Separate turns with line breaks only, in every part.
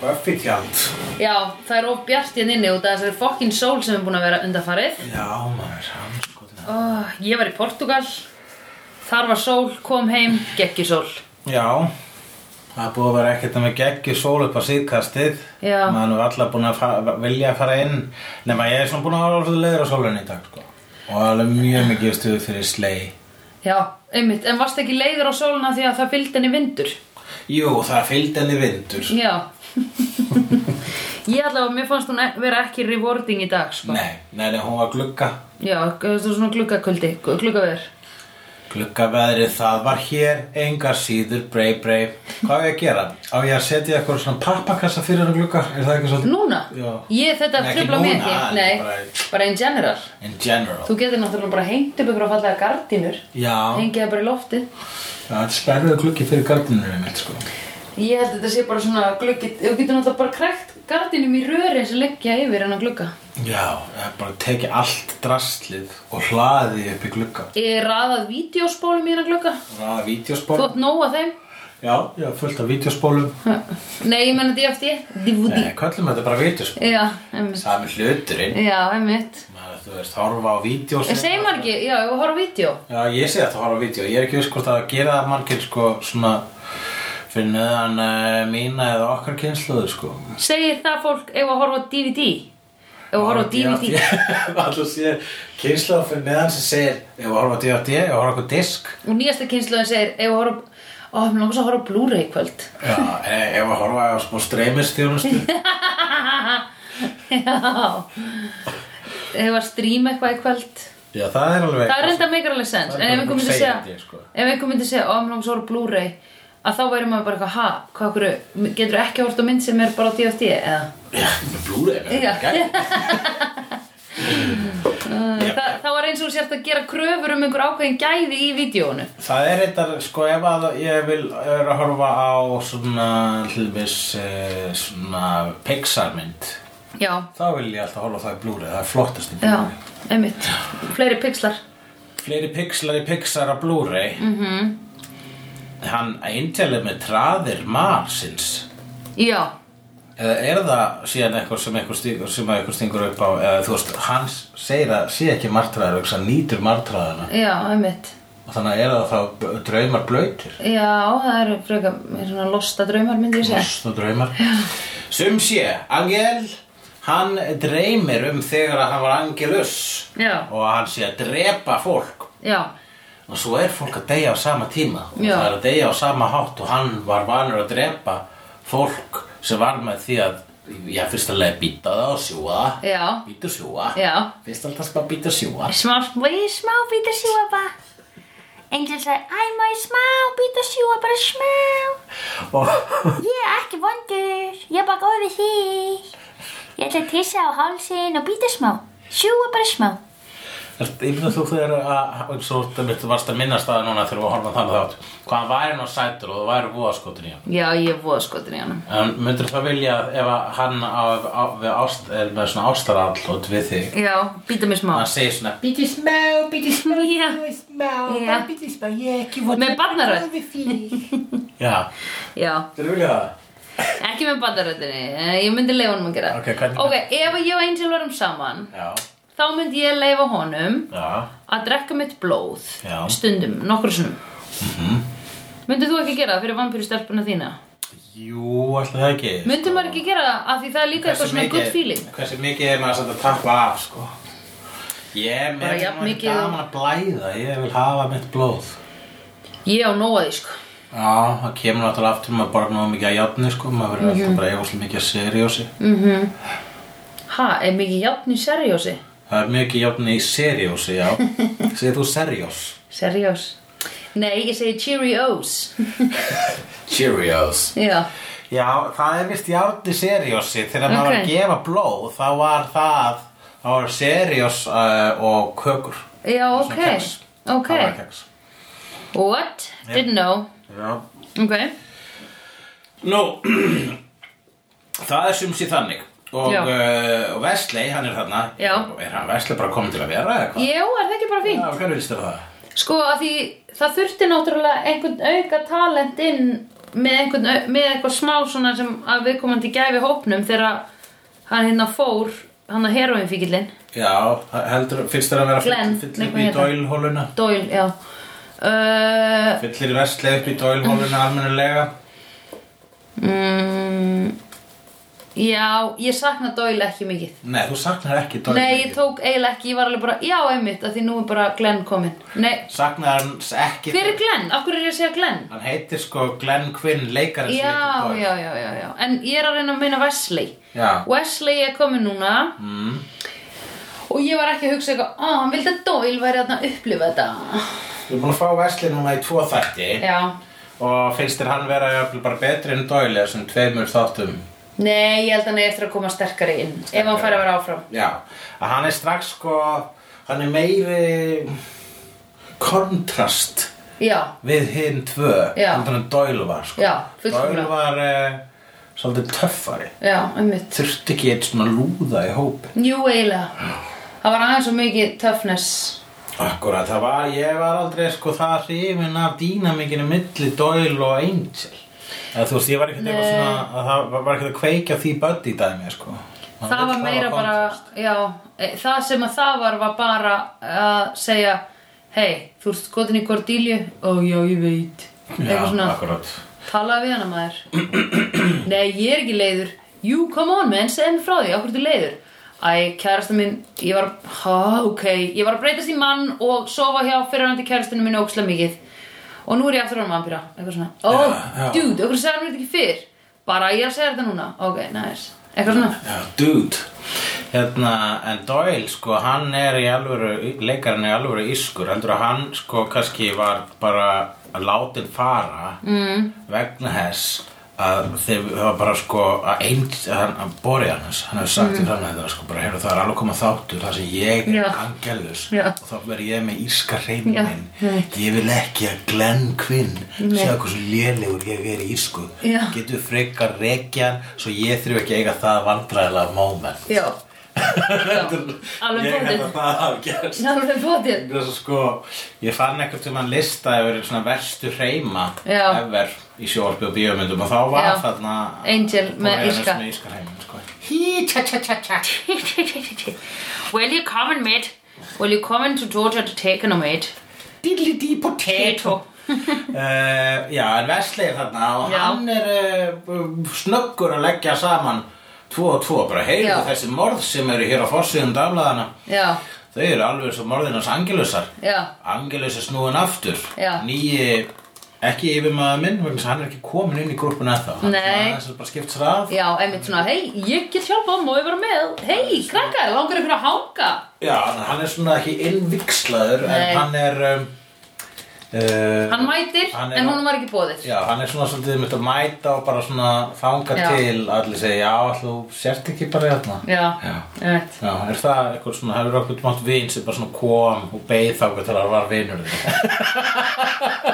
Buffy-tjald.
Eh, Já, það er of bjart hérna inni út af þessari fokkin sól sem er búin að vera undanfarið.
Já, maður, hann sko þetta.
Oh, ég var í Portugal, þar var sól, kom heim, gekk í sól.
Já, það er búið að vera ekkert með geggi sól upp á síðkastið.
Já.
Maður er alltaf búin að fa- vilja að fara inn. Nefna ég er svona búin að vera orðið leiður á sólunni í dag, sko. Og alveg mjög mikið stuðu fyrir slei.
Já, einmitt, en varst ekki leiður á sóluna því að það fylgdi henni vindur?
Jú, það fylgdi henni vindur.
Já. ég allavega, mér fannst hún e- vera ekki rewarding í dag, sko.
Nei, nei, nei, hún var glugga.
Já, þú veist svona gluggaköldi, gluggaveður.
Gluggaveðrið það var hér, engar síður, brei, brei. Hvað á ég að gera? Á ég að setja eitthvað svona pappakassa fyrir hann glugga? Er það ekki svolítið?
Núna?
Já.
Ég, þetta
Nei, ekki
tröfla mig
núna,
ekki.
en
Nei, bara,
bara-
in general.
In general.
Þú getur náttúrulega bara hengt upp ykkur á fallega gardínur.
Já,
Hengið það bara í loftið.
það er sperruðu gluggi fyrir gardinurinn mitt, sko.
Ég held að þetta sé bara svona gluggi, þú getur náttúrulega bara krækt gardinum í röri sem leggja yfir hennar glugga.
Já, það er bara að teki allt draslið og hlaði upp í glugga.
Ég raðað vídeospólum í hennar glugga.
Það er
Þú
vídeospólum.
átt nóg að þeim.
Já, já, fullt af vídeospólum.
Nei, ég menna DFD. DVD.
Nei, kallum þetta bara vídeospólum.
Já, emmitt.
Sami hluturinn.
Já, emmitt.
Maður, þú veist, horfa á vídeos.
Ég segi maður ekki, já, ég var að horfa á vídeo.
Já, ég sé að það horfa á vídeo. Ég er ekki viss hvort að gera það margir, sko, svona fyrir neðan uh, mína eða okkar kynsluðu, sko.
Segir það fólk ef að horfa á DVD? Ef að horfa á DVD?
Alltaf sé kynsluðu fyrir neðan sem segir, ef að horfa á DVD, ef að horfa á eitthvað disk.
Og nýjasta kynsluðin segir ef að horfa, ó, mér langar svo að horfa á Blu-ray í kvöld.
Já, e- ef að horfa á smá streymistjónustu.
Já. Ef að stríma eitthvað í kvöld.
Já, það er alveg...
Það er enda meikar alveg sens,
Það
en ef
er bara
einhver myndi
segjandi,
segja,
sko.
ef einhver myndi segja, ó, mér langar svo að horfa á Blu-ray, að þá væri maður bara eitthvað, ha, hvað okkur, getur ekki hort á mynd sem er bara á DFD, eða?
Já, með blúrið.
Já. Þa, það var eins og þú sért að gera kröfur um einhver ákveðin gæði í vídjónu.
Það er eitthvað, sko, ef að ég vil er að horfa á svona, hlubis, svona Pixar mynd,
Já,
þá vil ég alltaf horfa á það í blúrið, það er flottast í
já, einmitt, fleiri pixlar.
Fleiri pixlar í Pixar á Blu-ray mm
Mhm.
-hmm. Hann eintelið með traðir Marsins
Já,
Eða er það síðan eitthvað sem eitthvað stingur, sem að eitthvað stingur upp á eða þú veist, hann segir að sé ekki martraðar og hann nýtur martraðana
já, einmitt,
og þannig að er það þá b- draumar blöytir
já, það eru frekar er svona losta draumar, myndi ég segja.
og draumar Sum sé, Angel hann dreymir um þegar að hann var Angelus
Já.
og að hann sé að drepa fólk
Já,
Og svo er fólk að deyja á sama tíma og
Já.
það er að deyja á sama hátt og hann var vanur að drepa fólk sem var með því að já, fyrst að leið býta það og sjúa
já,
býta og sjúa
já.
fyrst alltaf bara býta og sjúa
Smá, smá bítur sjúa bara.
Angel sagði, æ, má ég smá, býta sjúa, bara smá.
og
Ég er ekki vondur, ég er bara góð við þig. Ég ætla að tissa á hálsin og býta smá. Sjúa bara smá.
Ert- ég finn að þú þegar að eins og þú veist, þú varst að minnast það núna þegar við horfum að þannig þátt hvað hann væri nú sætur og þú væri voðaskotin í hann
Já, ég er voða skotin í hann.
en myndir það vilja ef að hann á, á, við ást, er með svona ástarallot við þig
Já, býta mig smá.
hann segir svona
Bitte smá, bitte smá,
Já.
bitte smá,
Já.
bitte smá, ég er ekki vona.
Með barnarödd.
já,
Já.
þeir vilja það
Ekki með bandaröðinni, ég myndi leifa honum að gera það.
Ok, hvernig-
Ok, ef ég og Angel varum saman,
já,
þá myndi ég leifa honum
já
að drekka mitt blóð
Já. Mhm.
stundum, nokkru sinnum. Mm Myndið þú ekki gera það fyrir vampýristelpuna þína?
Jú, alltaf það ekki
Myndið maður ekki gera það af því það er líka eitthvað svona good feeling?
Hversu mikið er maður samt að tappa af, sko Ég
Bara
með
jafn
það
mikið
gaman að blæða Ég vil hafa mitt blóð
Ég á nóa því, sko.
Já, það kemur náttúrulega aftur Maður borgar náttúrulega mikið að játni, sko Maður verður
Mhm.
alltaf bara eiguslega mikið að seriósi
Ha, er mikið játn í seriósi?
Það er mikið játni í seriósi, já Segir þú seriós?
Seriós? Nei, ég segi Cheerios.
Cheerios
Já,
Já, það er vist járni seriósi þegar maður var
Ok.
að gefa blóð þá var það, þá var seriós uh, og kökur
já,
Og
ok.
svona kex.
Ok.
Það var kex.
What? Didn't know.
Já.
Ok.
Nú, það er sumsi þannig og,
Já.
uh, og Vesley, hann er þarna
Já.
er hann Vesley bara kominn til að vera eða hvað?
Jú, er það ekki bara fínt?
Já, hvernig vilst þér það?
Sko, að því það þurfti náttúrulega einhvern auka talent inn með, einhvern, með eitthvað smá svona sem að viðkomandi gæfi hópnum þegar hann hérna fór hann að heroin fíkillin
Já, heldur, fyrst er að vera
Glenn,
fyll-
nei,
fyllir
hvað hét
upp í
hann?
dælhóluna
Doyle, já uh,
Fyllir vestlega upp í dælhóluna almennilega
mm, Já, ég sakna Doyle ekki mikið
Nei, þú saknar ekki dælhóluna
Nei, ég tók eiginlega ekki, ég var alveg bara, já, einmitt, að því nú er bara Glenn kominn. Nei,
Saknar hans ekki
hver er Glenn? Af hverju er ég að segja Glenn?
Hann heitir sko Glenn Quinn, leikarinn sem
Já,
heitir Doyle.
já, já, já, já, en ég er að reyna að meina Wesley.
Já.
Wesley er kominn núna
Mm.
og ég var ekki að hugsa eitthvað, á, hann vildi að Doyle væri þarna að upplifa þetta.
Við erum búin að fá Wesley núna í tvo þætti
Já,
og finnst þér hann vera jafnvel bara betri en Doyle þessum tveimur þáttum
nei, ég held að hann er eftir að koma sterkari inn, ef hann fær að vera áfram.
Já, að hann er strax sko hann er meiri kontrast
Já,
við hinn tvö
Já.
heldur en Doyle var sko
Já, fullkomlega.
Doyle var eh, svolítið töffari
já, einmitt.
þurfti ekki eitt svona lúða í hópin
Jú, eiginlega. Það var aðeins og mikið toughness.
Akkurat, það var, ég var aldrei sko það hrifin af dýnamikinu milli Doyle og Angel eða þú veist, ég var ekkert eitthvað
Nei.
svona að það var- var ekkert að kveikja því buddy dæmi sko
það
Man vill
var
hafa
meira bara
kontrast.
já, e, það sem að það var var bara að segja hei, þú ert skotin í Cordelia ó já, ég veit
Já,
eitthvað svona,
akkurat
talaði við hana maður nei, ég er ekki leiður jú, come on man, segð mér frá því, okkur þú leiður æ, kærasta minn, ég var ha, ok, ég var að breytast í mann og sofa hjá fyrirhandi kærastinu minn óksla mikið og nú er ég aftur honum vampíra eitthvað svona, ó,
Já, já.
dude, okkur segir mér þetta ekki fyrr bara ég er að segja þetta núna, ok, nice eitthvað svona
Já, dude Hérna, en Doyle, sko, hann er í alvöru, leikarinn er í alvöru ískur heldur að hann, sko, kannski var bara látin fara mm. vegna þess að þeir það var bara, sko, að einn, hann, að borið hans hann hefur sagt mm. þannig að það, sko, bara, heyrðu, það er alveg koma þáttur það sem ég
Já.
er angelus
Já.
og þá verð ég með íska reyminn
Já, nei.
ég vil ekki að Glenn Quinn
Nei.
segja hversu lélegur ég er í ísku
Já.
getur frekar rekjan svo ég þurfi ekki að eiga það vandræðilega moment
Já, alveg
ég held að
pottþétt.
það hafi gerst
alveg bótið
Vegna þess að sko, ég fann ekkert um hann lista yfir svona verstu hreima
Já.
ever í sjóarpi og bíómyndum og þá var
Já.
þarna
Angel með
Boreanaz
írska.
með íska hreimin sko.
Hí, tja, tja, tja, tja.
Will you come and meet? Will you come into Georgia to take an mate?
Diddly dí potato.
Eto
uh, já, en Wesley er þarna og
Já.
hann er uh, snöggur að leggja saman tvo og tvo, bara heyrðu
Já.
þessi morð sem eru hér á forsíðum daflaðana
Já,
þau eru alveg svo morðinans angelusar
já,
Angelus er snúin aftur
Já.
nýi, ekki yfirmaður minn vegna þess að hann er ekki komin inn í grúppuna ennþá Hann
Nei.
er svona aðeins að bara skipt sér að
já, einmitt svona, hei, ég get hjálpað, má ég vera með? Hei, krakkar, langar ykkur að hanga?
Já, en hann er svona ekki innvikslaður
Nei.
en hann er um, uh,
Hann mætir,
Hann er-
en hún var ekki bóðið
Já, hann er svona svolítið mynd að mæta og bara svona fanga
Já.
til að allir segja, já, þú sért ekki bara hérna
Já,
Já.
einmitt
Já, er það eitthvað svona, hefur okkur mátt vin sem bara svona kom og beið þá hvað til að var vinur þinn?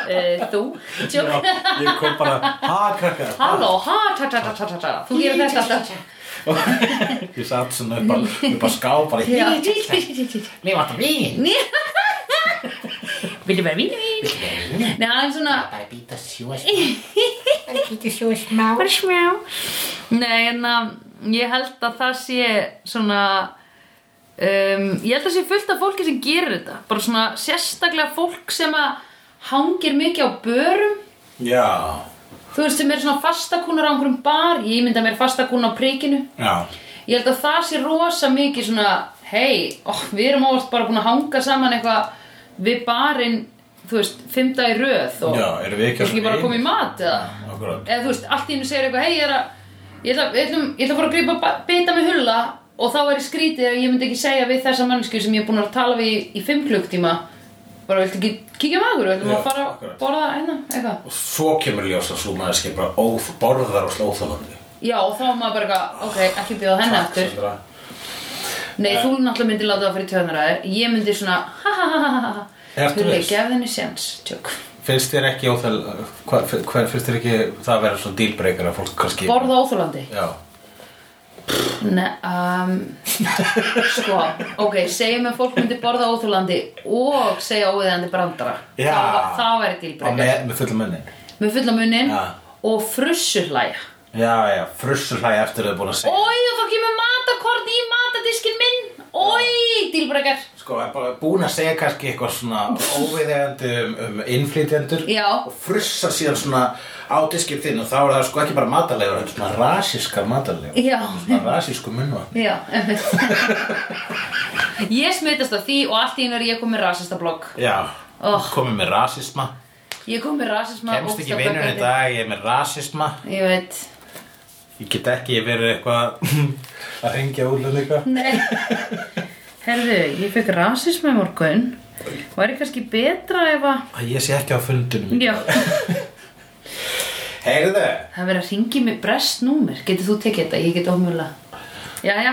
Eh, Þú,
Já,
tjók
ég kom bara, ha krakkar, ha
Halló, ha, ta ta ta ta ta ta Þú gerir þetta alltaf
Ég satt svona upp að, upp að ská bara í
Já.
Mér vantar vín.
Viltu vera mínu mín? Nei, hann er svona,
Bara býta sjóa smá. Bara býta sjóa smá.
Bara smjá.
Nei, en að ég held að það sé svona um, ég held að sé fullt af fólki sem gerir þetta bara svona sérstaklega fólk sem að hangir mikið á börum
Já,
þú veist sem er svona fastakúnar á einhverjum bar ég mynda mér fastakúna á prikinu
já,
ég held að það sé rosa mikið svona hei, ó, við erum óvart bara búin að hanga saman eitthvað við barinn þú veist, fimmta í röð og
Já, erum við ekki að-
ekki bara að koma í mat eða,
akkurat
eða þú veist, allt í hennu segir eitthvað hei, ég er að, ég ætla, ég ætla, ég ætla að fara að grípa ba- bita með hulla og þá er ég skrítið ef ég myndi ekki segja við þessa mannsku sem ég er búin að tala við í, í fimm klukktíma bara, viltu ekki kíkja með okkur, viltu
Já,
maður fara að
akkurat.
borða einna, eitthvað
Og svo kemur ljós að svo maður skipra óþ, borðar og slóþalandi
já, og þá er maður bara eitthvað, ok, ekki bjóða henni aftur nei, þú náttúrulega myndir láta það fyrir tjóðnara þér ég myndi svona, ha ha ha ha ha ha
Ertu
Hulli,
viss?
gef þenni sjans, tjók
Finnst þér ekki óþæl, hver, hver finnst þér ekki það að vera svona dílbreykar að fólk kannski
borða óþólandi
Já,
Nei, um, sko, ok, segjum að fólk myndi borða óþúlandi og segja óviðandi brandara
Já.
Það, það væri
og
dílbreyka með,
með, með fullum munnin
með fulla munnin
Já.
og frussuhlæja.
Já, já, frussu hlæg eftir þau búin að segja
Ói, og þá kemur matakorn í matadiskin minn. Ói, dílbrekar.
Sko, er bara búin að segja kannski eitthvað svona óviðegandi um, um innflytjendur
Já.
og frussa síðan svona á diskið þinn og þá er það sko ekki bara matalegur en svona rasískar matalegur
Já.
svona rasísku munnvann
Já, einmitt. ég smitast af því og allt í einu er ég komið rasista blogg.
Já,
Oh.
komið með rasisma
Ég kom með rasisma
kemst ekki
ógeðslega
vinnur í
böggandi.
dag, ég er með rasisma
Ég veit
ég get ekki verið eitthvað að hringja úr en eitthvað
Nei Herðu, ég fekk rasisma í morgun Væri kannski betra ef að
að ég sé ekki á fundunum
Já
Heyrðu,
Það verið að ringi mig brest númer Getur þú tekið þetta? Ég get ómjöla Jæja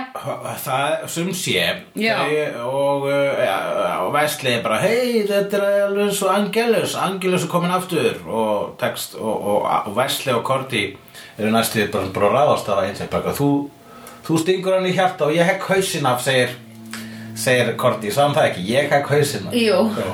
það sum sé
Já.
þau- og, uh, ja, og Vesli er bara hei þetta er alveg svo Angelus Angelus er komin aftur og, text, og, og, og Vesli og Korti eru næstu bara, bara að ráðast af eins og bara þú, þú stingur hann í hjarta og ég hekk hausin af segir, segir Korti, sagði hann það ekki ég hekk hausin af
Jú.
Já.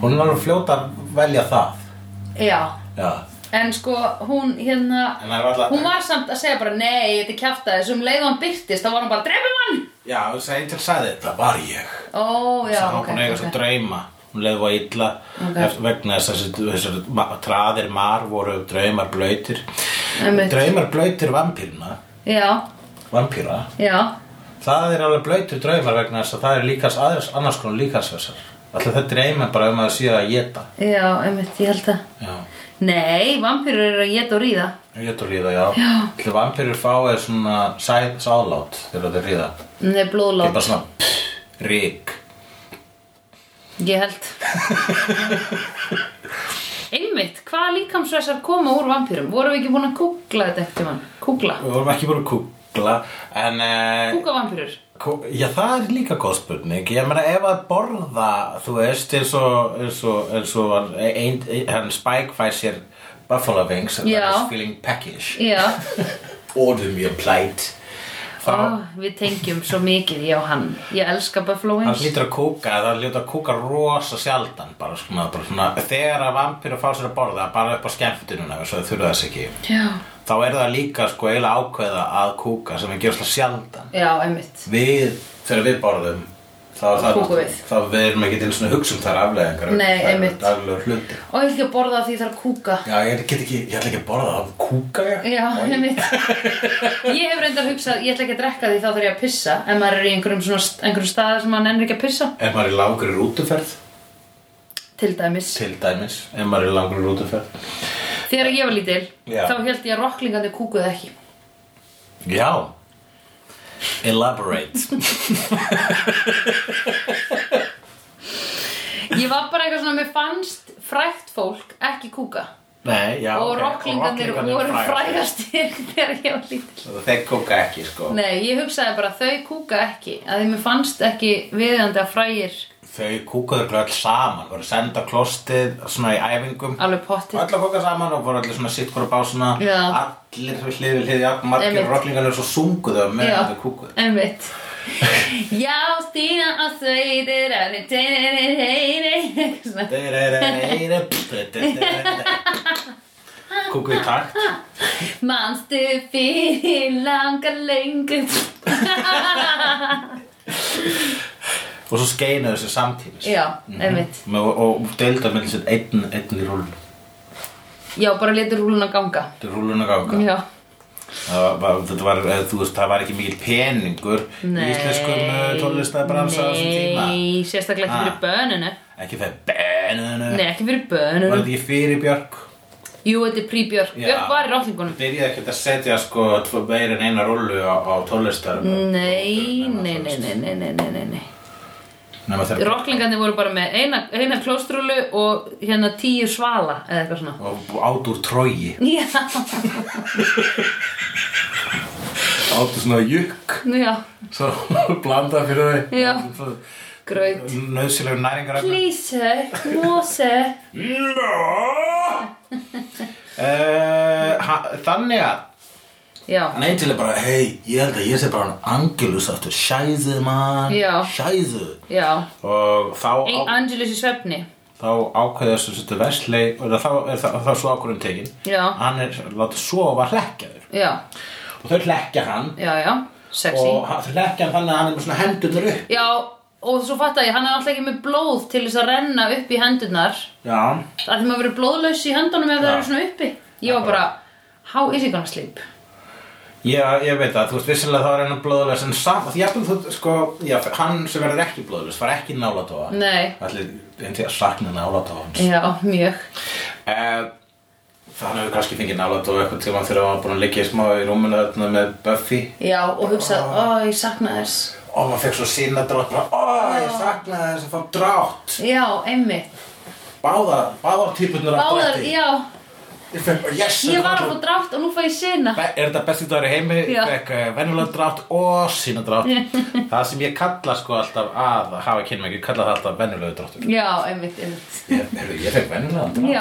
hún var að fljóta að velja það
Já
Já.
En sko, hún hérna
En það er varla-
Hún var samt að segja bara Nei, þetta er kjafta Þessum leið og hann byrtist Þá var hann bara Drefum hann
Já, þess að Angel sagði þetta var ég
Ó, já,
Sann
ok,
okay, hún eiga okay.
ok.
svo drauma hún leiði á illa
Ok.
okay. vegna þess að þessi- þessar ma- traðir mar voru draumar blöytir
Einmitt.
draumar blöytir vampírna
Já,
vampíra
já
það er alveg blöytir draumar vegna þess að það er líkas aðeins annars konar líkansvessar alltaf þetta dreyma bara um að síða að geta
Já, einmitt, ég held að
já
Nei, vampýrur eru að geta og ríða
Getur ríða, já. já. Þegar vampýrur fáið svona sæð, sáðlát þegar þeir ríða.
Nei,
Það
blóðlót
er bara svona rík.
Ég held Einmitt, hvaða líkamsvessar koma úr vampýrum? Vorum við ekki búin að kúkla þetta eftir mann? Kúkla?
Við vorum ekki búin að kúkla, en... eh,
Kúka vampýrur?
Ko- Já, það er líka góð spurning. Ég meina ef að borða, þú veist, eins og, eins og, eins og hann, ein, ein, hann Spike fær sér Buffalo Wings and
Já.
he's feeling peckish.
Já,
Order me a plate. Þá,
Ó, við tengjum svo mikið, ég og hann Ég elska Buffalo
hann
Wings
hlýtur að kúka, það hlýtur að kúka rosa sjaldan, bara svona, bara svona, þegar að vampir að fá sér að borða, bara upp á skemmtununa, svo þau þurfa þess ekki.
Já,
Þá er það líka, sko, eiginlega ákveða að kúka sem er gerðslega sjaldan.
já, einmitt
við, þegar við borðum þá er það
Kúkum við.
þá við erum ekki til svona hugsa um þær afleðingar
Nei, einmitt.
daglegur hluti
Og ég vil ekki að borða því ég þarf að kúka
já, ég get ekki, ég ætla ekki að borða það kúka ég
Já, einmitt Ég hef reyndar hugsað, ég ætla ekki að drekka því þá þarf ég að pissa En maður er í einhverjum, svona, einhverjum staðar sem maður nennir ekki að pissa
ef maður er langur í rútuferð
Til dæmis
til dæmis, ef maður er langur í rútuferð
Þegar ég var lítil,
Já.
þá held ég að rocklingandi kúkuð ekki
já elaborate
Ég var bara eitthvað svona, mér fannst frægt fólk ekki kúka
Nei, já,
og
ok,
rocklingarnir
rocklingarnir
voru
frægastir.
frægastir þegar ég var lítil.
þeir kúka ekki sko
Nei, ég hugsaði bara þau kúka ekki, að því mér fannst ekki viðandi að frægir
þau kúkaðu örugglega öll saman voru senda klostið svona í æfingum
alveg pottið.
öll að kóka saman og voru allir svona sitt hvora básuna
Já.
allir hlið við hlið jafn, margir
Einmitt.
rocklingarnir svo sunguðu með
Já.
þetta kúkuðu
Einmitt. Já, stína að sveitir að þið teinir heiri eitthvað svona.
kúkuðu í takt
Manstu fyrir langar lengur
og svo skeinuðu þessu samtímis
Já, einmitt
Með- og deilda með þessu einn, einn í rúlun
Já, bara letur rúluna ganga
til rúlun að ganga
Já,
Það var, þetta var, eh, þú veist, það var ekki mikil peningur í íslenskum eh, tónlistabransa á þessum tíma
Nei, sérstaklega ekki fyrir
Ah.
bönunu
ekki fyrir beninu
Nei, ekki fyrir
var
bönunum
þetta ekki fyrir Björk
Jú, þetta er príbjörk
Já.
Björk var í ráttlingunum
byrjaði ekkert að setja sko tvö meir en eina rullu á, á tónlistarum
Mm. Nei, nei, nei, nei, nei, nei, nei, nei, nei.
nema þeir
Rocklingandi voru bara með eina, eina klóstrúlu og hérna tíu svala eða eitthvað svona
og át úr trói
Já,
át úr svona jukk
já,
svo blanda fyrir þau
Já. gröð
nöðsilegu næringar
Líse, Mose
Eh, þannig að
Já,
Hann eitthvað er bara, hei, ég held að ég sé bara hann Angelus aftur, shæðu mann,
Já.
shæðu
já
Og þá,
Ein
á,
Angelus í svefni
þá ákveða sem setja Vesli og þá er það, þá er svo ákvörðum tekin
Já.
hann er látið sofa hlekkjaður
Já,
og þau hlekkja hann
já, já, sexy
og hann- þau hlekkja hann þannig að hann er með svona hendunar upp
Já, og svo fatta ég, hann er alltaf ekki með blóð til þess að renna upp í hendurnar
já,
Það er því maður verið blóðlaus í hendunum ef það
Já.
eru svona uppi Ég var bara, how is he gonna sleep?
ég, ég veit að þú veist vissilega þá er hann blóðlaus en samt, því að þú sko já, hann sem verður ekki blóðlaus fara ekki nála tóa
Nei. Mm.
allir, en því að sakna nála tóa hans
Já, mjög
Eh, Það hefur kannski fengið nálat og eitthvað tíma þegar hann var búin að liggja í smá í rúminu þarna með Buffy
Já, og hugsaði, ó, ég sakna þess
og maður fekk svo sína drátt og ó, ég saknaði þess að fá drátt
Já, einmitt
Báðar, báðar típunar af
Báðar,
drætti
já,
Ég fekk bara, yes,
ég
þetta
var að
allir-
fá drátt og nú fæ ég sena
Be- Er þetta besti dagur í heimi?
Já.
Ég fekk uh, venjulega drátt og sína drátt Það sem ég kalla sko alltaf að hafa kynmæk, ég kalla það alltaf venjulega dráttur
Já, einmitt, einmitt
Ég, heyrðu, ég fekk venjulega drátt
Já,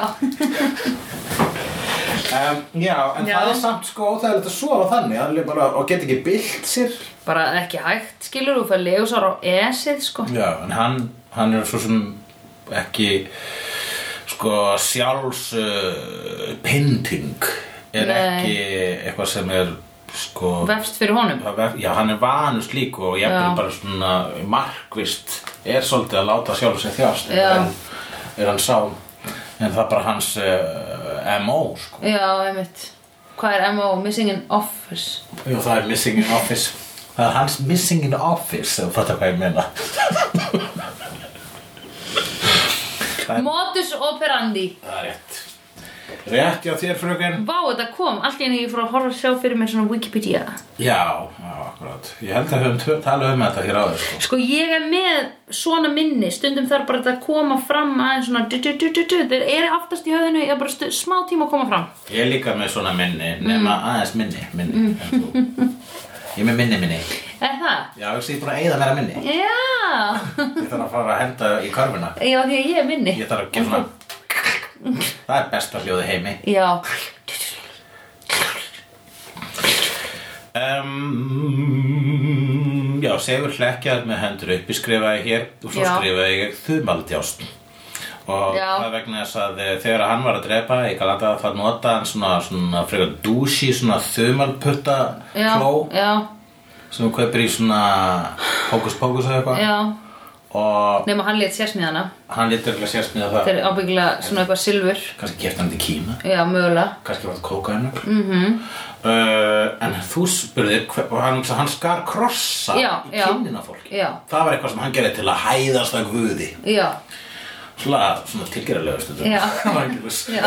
um, Já, en
Já.
það er samt sko óþægilegt að sofa þannig alveg bara, og get ekki bylt sér
bara ekki hægt, skilur þú fæ legusar á esið, sko
Já, en hann, hann er svo sem ekki sko sjálfs uh, pynting er
Nei.
ekki eitthvað sem er sko
Vefst fyrir honum
það vef- Já, hann er vanur slíku og ég
Já.
er bara svona markvist er svolítið að láta sjálf sér þjást
Já.
en, er hann sá en það er bara hans uh, MO sko
Já, einmitt Hvað er M.O. Missing in Office?
Jú, það er Missing in Office Það er hans Missing in Office ef þú fattar hvað ég meina Það-
Modus operandi
Það er rétt Rétt hjá þér fröken
Vá, þetta kom, allt í enn ég fór að horfa að sjá fyrir mér svona Wikipedia
Já, já, akkurat Ég held að við höfum tö- talað um þetta hér áður sko.
Sko, ég er með svona minni Stundum þarf bara þetta að koma fram aðeins svona du, du, du, du, du. Þeir eru aftast í höfðinu Ég er bara stu, smá tíma að koma fram
Ég er líka með svona minni Nefna
Mm.
aðeins minni, minni en þú. Ég er með minni minni
Er það?
Já, ég sé ég búin að eyða meira minni
Já
Ég þarf að fara að henda í körfuna
Já, því að ég er minni
Ég þarf að gera svona Það er besta hljóði heimi
Já,
um, Já, segur hlekkjað með hendur uppi skrifaði hér og svo
Já.
skrifaði ég þumaldjást og
Já.
það er vegna þess að eh, þegar hann var að drepa í Galata það notaði hann svona, svona frekar dúsi, svona þumalputta
já,
kló
já,
sem þú kaupir í svona hókus pókus eða eitthvað
já
og
Nefna hann létt sérsmíðana
hann lítur ekki að sérst með það
Þeir eru ábyggilega svona eitthvað silfur
kannski gert hann til Kína
Já, mögulega
kannski var það kókainu mm
Mhm.
en þú spurðir hver- og hann, hann skar krossa
Já,
í
já.
kynnina fólki
Já.
það var eitthvað sem hann gerði til að hæðast að guði
Já,
svona, svona tilgerðarlega stundum
Já.
Það var ekki viss.
já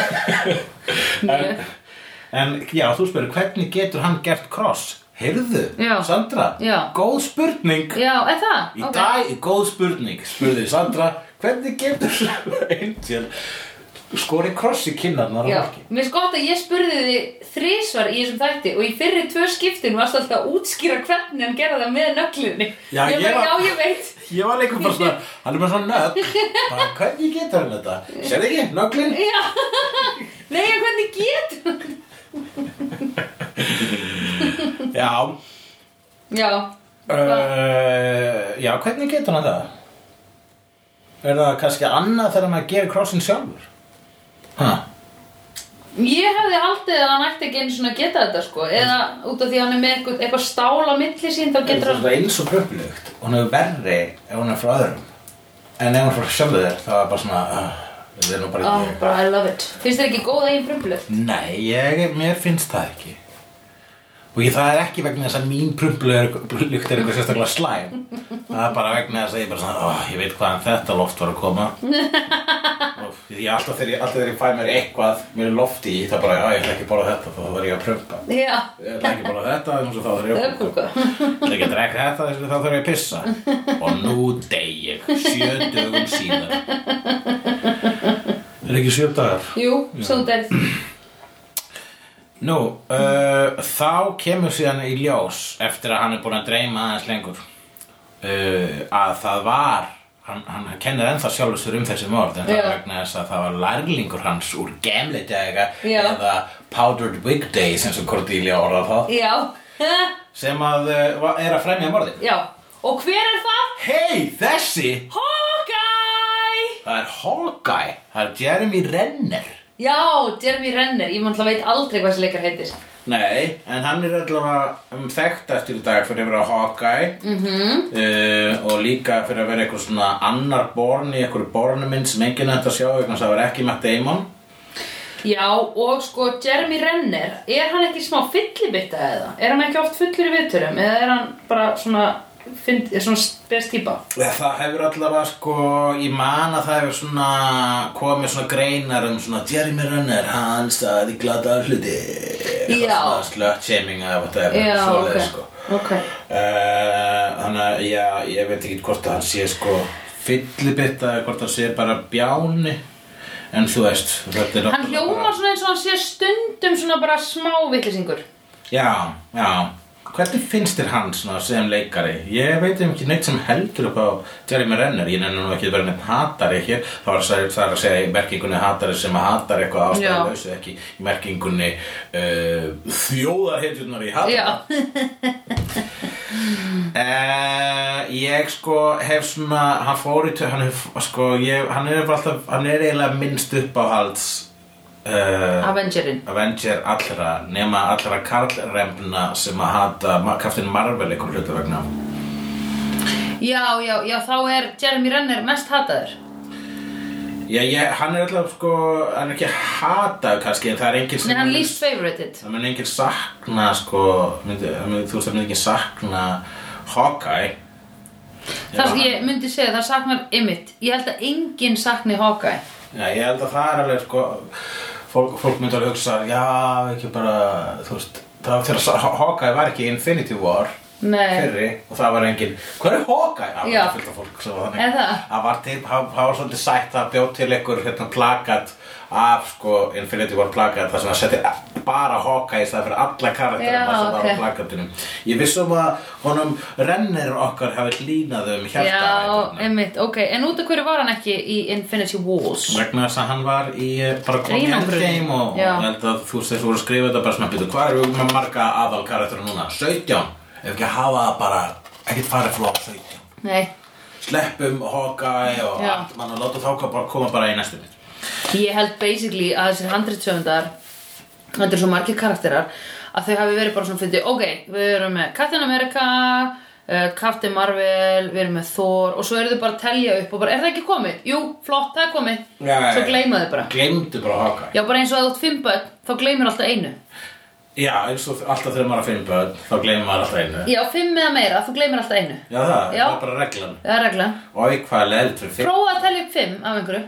Mjög.
en já, þú spurðir hvernig getur hann gert kross heyrðu,
Já.
Sandra
Já.
góð spurning
Já, er það?
í
Ok.
dag er góð spurning spurði Sandra hvernig getur Angel skori kross í kinnarnar á
Já,
fólki
mér finnst gott að ég spurði þið þrísvar í þessum þætti og í fyrri tvö skiptin varst alltaf að útskýra hvernig hann gerði það með nöglinni.
Já,
ég,
ég
bara,
var-
Já, ég veit.
Ég var líka bara svona, hann er bara svona nögg bara, Hvernig getur hann þetta? Sér ekki, nögglin?
Já, nei, en hvernig getur hann?
Já
Já,
uh, Já, hvernig getur hann það? Er það kannski annað þegar maður gerir krossin sjálfur? Ha?
ég hefði haldið að hann ætti ekki einu svona að geta þetta, sko. Eða út af því að hann er með eitthvað, eitthvað stál á milli sín, þá
Er
getur hann...
það eins og pröflugt og hann er verri ef hann er frá öðrum en ef hann er frá sjálfu þér þá er bara svona uh, Það er nú bara
Oh,
ekki
bara, I love it. Finnst þér ekki góð eigin frumlu?
Nei, ég, mér finnst það ekki Og ég, það er ekki vegna þess að mín prumplu er, lukt er eitthvað sérstaklega slæm Það er bara vegna þess að ég bara svona oh, Ég veit hvaðan þetta loft var að koma Og ég, alltaf, þegar, ég- alltaf þegar ég fæ mér eitthvað Mér er loft í, það er bara, já, ég ætla ekki að borða þetta Þá þarf ég að prumpa
Já,
Ég ætla ekki að borða þetta, þannig að þá þarf ég að prumpa
öfkuka.
Ég ætla ekki að drekka þetta, þess að þá þarf ég að pissa Og nú dey ég, sjö dögum síðar Er ekki sjö dagar?
Jú, svo þú deyrð.
Nú, uh, þá kemur síðan í ljós eftir að hann er búin að dreyma aðeins lengur uh, að það var hann, hann kennir ennþá sjálfur sér um þessi morð en það
Já.
er vegna þess að það var lærlingur hans úr gemlidega
Já.
eða powdered wig day sem sem Cordelia orðað það
Já,
sem að uh, va- er að fremja morðin
já. Og hver er það?
Hei, þessi
Hawkeye!
Það er Hawkeye, það er Jeremy Renner
Já, Jeremy Renner, ég mann veit aldrei hvað þessi leikar heitir
Nei, en hann er allavega um þekktastur í dag fyrir að vera Hawkeye -hmm.
Mhm.
uh, og líka fyrir að vera eitthvað svona annar born í eitthvað bornuminn sem enginn er hægt að sjá vegna þess að það var ekki Matt Damon
Já, og sko Jeremy Renner, er hann ekki smá fyllibitta eða? Er hann ekki oft fullur í viðtörum eða er hann bara svona, fynd, er svona spes típa?
Ja, Það hefur allavega sko, ég man að það hefur svona komið svona greinar um svona Jeremy Renner, hann staði glada hluti Eitthvað
Já.
svona Slut-shaming eða whatever,
Já,
svoleiðis,
ok,
sko.
ok
Eh, Þannig að já, ég veit ekki hvort að hann sé sko fyllibitta eða hvort hann sé bara bjáni en þú veist þetta er
Hann
náttúrulega
hljómar
bara-
svona eins og hann sé stundum svona bara smá vitlisingur
Já, já Hvernig finnst þér hann svona sem leikari? Ég veit um ekki neitt sem heldur upp á Jeremy Renner, ég nenni nú ekki að vera neitt hatari hér, þá er það það er að segja í merkingunni hatari sem að hatar eitthvað ástæðalausu ekki í merkingunni uh, þjóðarhetjurnar í hatara
Já,
Eh, ég sko hef svona, hann fór í tök, hann, hef, sko, ég, hann er alltaf, hann er eiginlega minnst uppáhalds uh,
Avengerin
Avenger allra, nema allra karlremna sem að hata Ma- Captain Marvel einhver hlutu vegna.
Já, já, já, þá er Jeremy Renner mest hataður
Já, ég, hann er alltaf sko, hann er ekki hatað kannski, en það er enginn
Nei,
sem...
hann least favorited
Það mun enginn sakna sko, myndi, það mun- þú veist, það mun enginn sakna Hawkeye.
Það sem ég myndi segja, það saknar ymmit Ég held að enginn sakni Hawkeye
Já, ég held að það er alveg sko fólk, fólk myndi alveg hugsa já, ekki bara, þú veist það var þegar Sa- Hawkeye var ekki í Infinity War
Nei.
fyrri og það var engin hvað er Hawkeye? Það
Já.
var fullt af fólk sem var þannig.
Er það?
það var til, það það var svolítið sætt að bjóð til einhver hérna plakat af sko Infinity War plakat þar sem það setti bara Hawkeye í stað fyrir alla
Já,
karakterum þar sem það
ok.
var á plakatunum ég vissum að honum rennir okkar hafi hlínað um hjarta
Já, ymmit, ok En út af hverju var hann ekki í Infinity Walls?
vegna þess að hann var í eh, bara komið
Einangrun.
endgame og
Já.
ég held að þú veist þess voru að skrifa þetta bara svona býtu hvað erum við með marga aðal karakteru núna 17 ef ekki að hafa það bara ekkert farið frá 17
Nei
sleppum Hawkeye og
Já.
allt mann og láta þá bara- koma bara í næstu mynd
Ég held basically að þessir handritsöfundar Þetta eru svo margir karakterar Að þau hafi verið bara svona fyndið Ok, við erum með Captain America uh, Captain Marvel, við erum með Thor Og svo eru þau bara að telja upp og bara Er það ekki komið? Jú, flott, það er komið
Já, já,
Svo
já.
gleyma þau bara
glemdu bara Hawkeye
Já, bara eins og að þú átt fimm börn, þá gleymir alltaf einu
já eins og alltaf þegar maður er að finna börn þá glemur maður alltaf einu
Já, fimm eða meira, þú gleymir alltaf einu
já það,
Já.
það er bara reglan
Það er reglan
og hvað er leðilt fyrir fyrir
Prófa að telja upp fimm af einhverju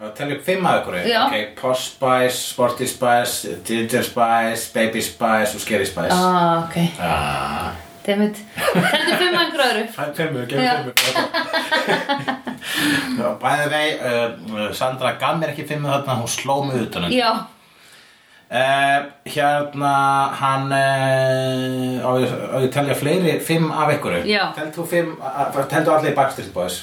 Það telja upp fimm að ykkur
Já.
Ok, Posh Spice, Sporty Spice, Ginger Spice, Baby Spice og Scary Spice
Ah, ok,
Ah.
dammit Telja upp fimm af einhverju öðru
Fæ fimmur,
Já.
gefur fimmur Bæði vei, uh, Sandra gaf mér ekki fimmur þarna, hún sló mig utan um. hann
Já,
uh, Hérna, hann, uh, á, ég, á ég að telja fleiri, fimm af ykkur
Já.
Teldu fimm, a- a- teldu allir í Backstreet Boys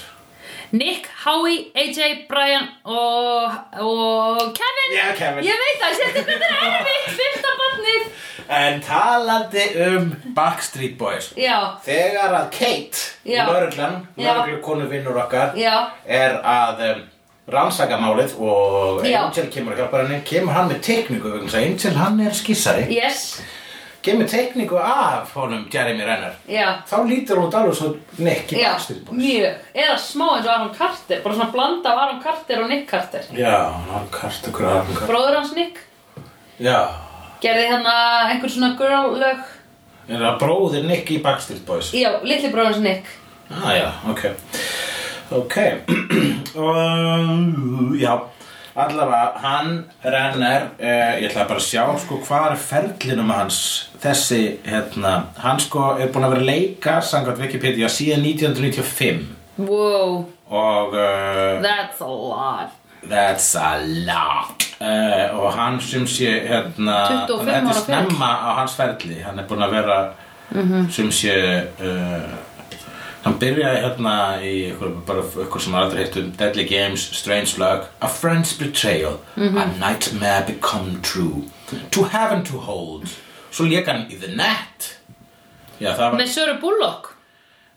Nick, Howie, AJ, Brian og, og Kevin
Já, Kevin.
Ég veit það, sérstu hvernig það er erfitt, fyrsta barnið
En talandi um Backstreet Boys
Já,
Þegar að Kate,
Já.
lauruglan,
Já.
lauruglu vinnur okkar
Já.
er að um, rannsaka málið og
Já.
Angel kemur að hjálpa henni kemur hann með teikningu, vegna þess að Angel hann er skissari
yes,
kemur teikningu af honum Jeremy Renner
já
þá lítur hún alveg svo Nick í
Já,
Backstreet Boys
mjög, eða smá eins og Aron Carter, bara svona blanda af Aron Carter og Nick Carter
Já, hann har kart okkur að hann kart
Bróður hans Nick
Já,
gerði hérna einhvern svona girl lög
er það bróðir Nick í Backstreet Boys
Já, litli bróður hans Nick
Ah, já, ok Ok um, Já Allavega, hann renner uh, Ég ætla bara að sjá sko hvað er ferlinum hans Þessi, hérna Hann sko er búinn að vera að leika Sangat Wikipedia síðan 1995
Wow,
Og uh,
that's a lot
That's a lot uh, Og hann sem sé
25
hérna þetta er
ára ferill.
snemma á hans ferli Hann er búinn að vera sem sé uh, Hann byrjaði hérna í ykkur, bara ykkur sem er aldrei heitt um Deadly Games, Strange Luck A Friend's Betrayal A Nightmare Become True To Have and To Hold Svo lék hann í The Net Já, það var
Með Söru Bullock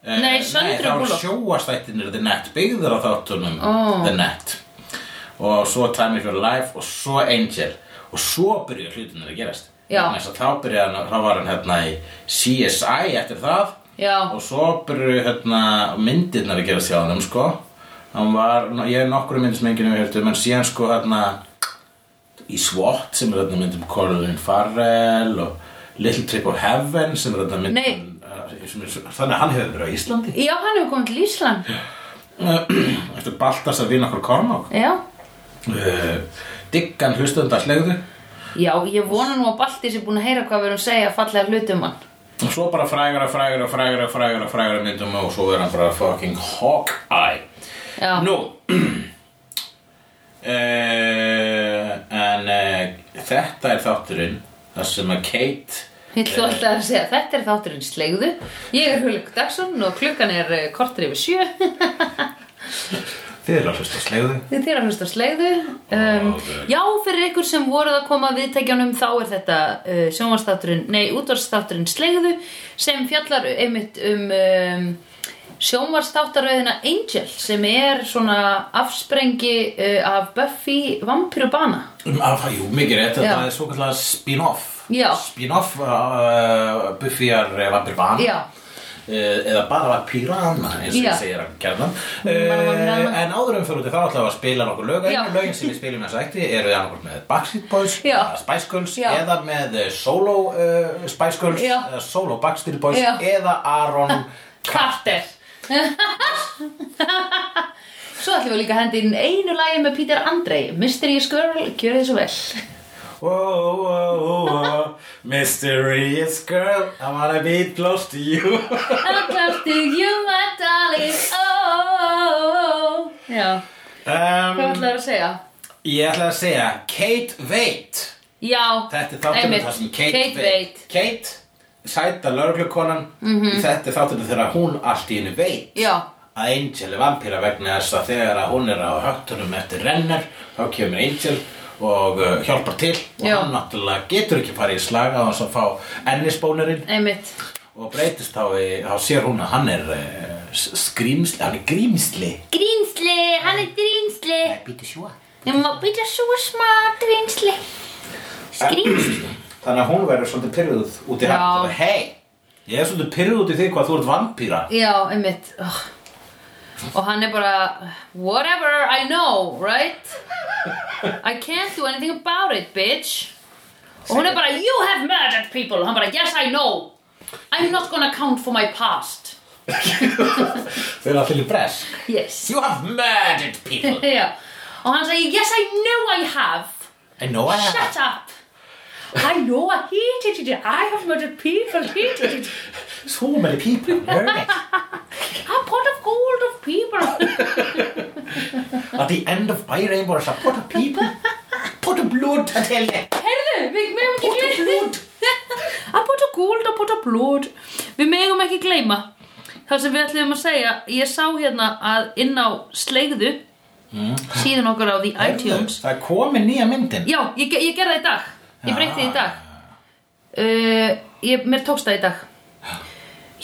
Eh,
Nei, Sandra
Nei, það var
Bullock.
sjóastættinir The Net, byggður á þáttunum
Ó.
The Net og svo Time If Your Life og svo Angel og svo byrjuðu hlutinir að gerast
Já.
Vegna þess að þá byrjuði hann, þá var hann hérna í CSI eftir það
Já.
og svo byrjuðu hérna myndirnar að gerast hjá hann sko hann var, ég er nokkru myndir sem enginn hefur heyrt um, en síðan sko hérna í SWAT sem er þarna myndum Corlin Farrell og Little Trip of Heaven sem er þarna myndum
Nei.
eh, sem er, þannig að hann hefur verið á Íslandi
Já, hann hefur komið til Ísland
eftir Baltas að vinna okkur Kormák
Já,
uh, Diggan hlustönda slegðu
já ég vona nú að Balti sé búin að heyra hvað við erum að segja fallega hluti um hann
og svo bara frægara, frægara, frægara, frægara, frægara myndum og svo er hann bara fucking Hawkeye
Já,
Nú uh, en uh, þetta er þátturinn þar sem að Kate
ég ætla alltaf að segja Þetta er þátturinn slegðu Ég er Hulik Dagsson og klukkan er eh, korter yfir sjö
þið eru að hlusta á slegðu
Þið þér að hlusta á slegðu um,
Ok.
Já, fyrir ykkur sem voruð að koma að viðtækjanum þá er þetta uh, sjónvarsþátturinn, nei, útvarsþátturinn slegðu sem fjallar einmitt um, um sjónvarsþáttaröðina Angel sem er svona afsprengi uh, af Buffy vampirubana
um, að, jú, mikið rétt,
Já.
þetta er svo kallar spin-off
Já.
spin-off uh, Buffyar Vampirvana
Já.
Eh, eða bara var pírana eins og
Já. Mm,
ég segir hann kjarnan
Bara vampírana.
en áður um fyrir út í það ætlaðum við að spila nokkur lög
Já.
einu lögin sem við spilum eins og ekti eru annarkvort með Backstreet Boys
Já.
eða Spice Girls
Já.
eða með eh, solo uh, Spice Girls
Já.
eða solo Backstreet Boys
Já.
eða Aaron
Carter Svo ætlum við líka að hendi inn einu lagi með Peter Andrei Mysterious Girl, gjör þið svo vel
Whoa, whoa, whoa, whoa Mysterious girl I wanna be close to you
I'm close to you, my darling oh. Já, hvað
um,
ætlaður að segja?
Ég ætla að segja Kate veit
Já,
Þetta er þáttunum
einmitt,
þar sem Kate, veit Kate, sæta lauruglukonan -hmm. Þetta er þáttunum þegar hún allt í henni veit
Mhm. Já,
að Angel er vampíra vegna þess að þegar að hún er á höttunum eftir rennar þá kemur Angel og uh, hjálpar til og
Já.
hann náttúrulega getur ekki farið í slaga á hans að fá ennisbónurinn
einmitt
og breytist þá, í, þá sér hún að hann er uh, skrýmsli, hann er grímsli
Grínsli, hann er grínsli.
býtu sjúa
Ég má býta svo smá grínsli. Skrýmsli.
Þannig að hún verður svolítið pyrruð út í
Já.
hægt Hei, ég er svolítið pyrruð út í því hvað þú ert vampíra
Já, einmitt oh. Og hann er bara Whatever I know, right? I can't do anything about it, bitch Og hún er bara You have murdered people Og hann bara, yes I know I'm not gonna count for my past
Þau eru allir í bresk
Yes
You have murdered people
Já. Og hann segir, yes I know I have
I know I have
Shut up! I know I hated it. I have murdered people, hated it.
So many people have murdered
A pot of gold of people.
At the end of my rainbow is a pot of people Pot of blood, I tell you
Heyrðu, við megum ekki
Pot of blood
A pot of gold, a pot of blood. Við megum ekki gleyma. Það sem við ætlum að segja, ég sá hérna að inn á sleigðu
Mm.
síðan okkar á því iTunes.
Það er komið nýja myndin
Já, ég, ég gerði það í dag. Ég breytti því í dag. uh, ég, mér tókst það í dag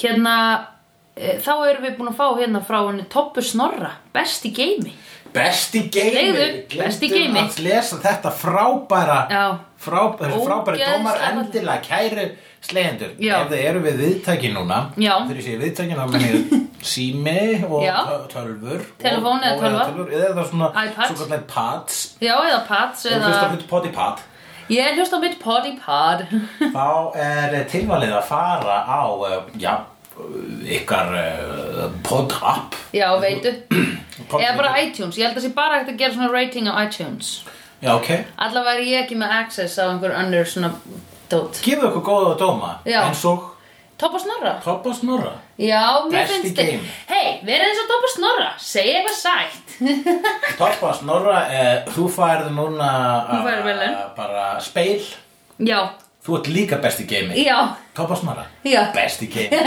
hérna uh, þá erum við búin að fá hérna frá henni Toppu Snorra, best í geimi
Besti geimi
Segðu, besti
Gleymdum
geimi.
að lesa þetta frábæra
Já.
frábæri,
Oh.
frábæri
Ógeðslega
dómar
fallegt.
endilega kæru slegjendur
Já.
ef þið eru við viðtæki núna
Já.
þegar ég sé viðtæki þá menn ég sími og
Já.
tö- tölvur
Telefón eða
og, og,
tölva.
tölvur eða það svona
iPads.
svo kallar pads
já eða Pats
eða... og
eða...
hlusta poti pad
ég er hlust á mitt potty pod
þá er tilvalið að fara á eh, já, ykkar eh, pod app
já veitu
Pod-
eða bara iTunes, ég held að sé bara hægt að gera svona rating á iTunes
já, ok
allavega er ég ekki með access á einhver annar svona dót
gefðu okkur góða dóma
Já.
eins og
Toppu Snorra
Toppa Snorra
já, mér
Best í
finnst þið
geimi.
hei, verið eins og Toppu Snorra, segi eitthvað sætt
Toppa Snorra, eh, þú færð núna
Þú færð verðlaun.
eh, bara speil
já,
Þú ert líka best í geimi
já,
Toppa Snorra
já
Best í geimi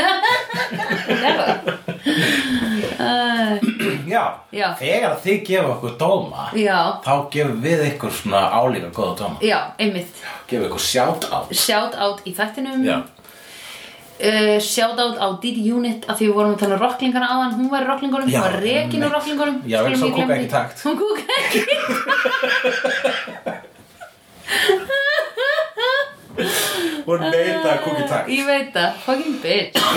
Já,
Já.
þegar þið gefa okkur dóma
Já.
Þá gefum við ykkur svona álíka góða dóma
já, einmitt
Gefum ykkur sjátt á
shout out í þættinum
Já
uh, shoutout á Didi Unit af því við vorum að tala um rocklingarna áðan hún var í rocklingunum,
Já,
hún var rekin úr
einmitt.
rocklingunum
Já, vel,
Skulum
svo
ekki
kúka
gleyma
ekki
því.
takt.
hún kúka ekki í
Hún neita að kúka í
takt
takt
ég veit það, fucking bitch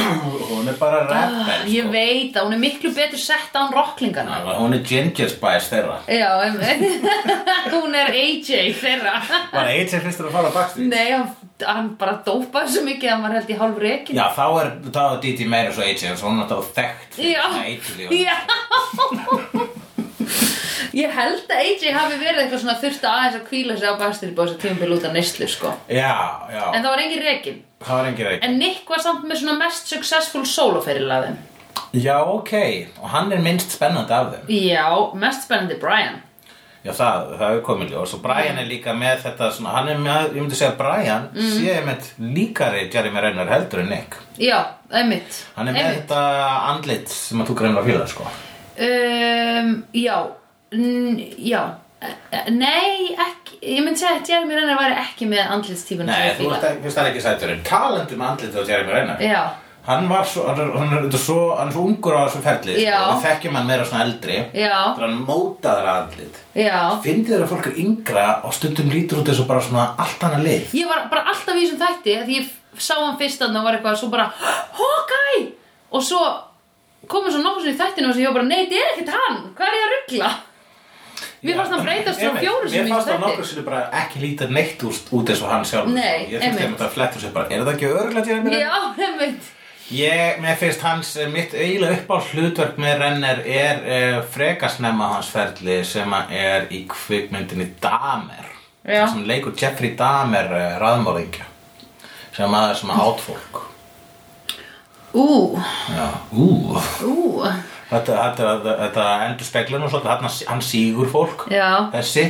Hún er bara sko.
Ah,
rebel
ég veit að hún er miklu betur sett án rocklingana
sko. Hún er ginger spice þeirra
já, einmitt hún er AJ þeirra
Var AJ fyrstur að fara á bakstu?
nei, hann, hann bara dópaði svo mikið að maður held í hálf rekin
Já, þá er, þá er DT meira svo AJ en svo hún er náttúrulega þekkt fyrir
Já.
svona eiturlyf.
Já Ég held að AJ hafi verið eitthvað svona þurft að aðeins að kvíla sig á Bastille Boys að tímabil út af neyslu sko
Já, já,
En það var engin rekin
það var engin reik
En Nick var samt með svona mest successful soloferil af þeim
Já, ok, og hann er minnst spennandi af þeim
Já, mest spennandi Brian
Já, það, það er komið ljós og Brian er líka með þetta svona, hann er með, ég myndi segja að Brian
Mm.
sé með líkari Jeremy Renner heldur en Nick
Já, einmitt
Hann er með
einmitt.
þetta andlit sem að þú greinur að fíla, sko
um, Já, n- já Eh, Nei, ekki, ég myndi segja að Jeremy Renner væri ekki með andlitstífun
Nei, þú veist ekki, það er ekki sætturinn Talandi um andlit á Jeremy Renner
Já,
Hann var svo, hann er, hann er, þetta er svo, hann er svo ungur á þessu ferli sko.
Já.
Við þekkjum hann meira svona eldri
Já.
Þannig að hann mótaður andlit
já
Fyndið þér að fólk er yngra og stundum lítur út þessu bara svona allt annað lið
Ég var bara alltaf í þessum þætti að því ég sá hann fyrst að og var eitthvað svo bara Hawkeye! Og svo komið svo nokkuð svo í þættinu og svo ég var bara Nei, þetta er ekkert hann, hvað er ég að ruggla? Mér fannst hann breytast svo
Einmitt,
fjóru sem
Mér
í
fannst
þessum
það
þætti
nokkur sinni bara ekki líta neitt úr, út eins og hann sjálf
Nei,
Ég finnst
einmitt.
þeim að það flettur sér bara, er það ekki örgulega Jeremy Renner?
Já, einmitt
Ég, mér finnst hans, eh, mitt eiginlega uppáð hlutverk með Renner er uh, frekasnemma hans ferli sem að er í kvikmyndinni Damer
Já.
sem leikur Jeffrey Damer uh, raðmáringja sem maður sem að átt fólk
Ú,
Já, ú
ú
Þetta, þetta, þetta, þetta endur speglun og svolítið, hann, hann sígur fólk
Já.
Þessi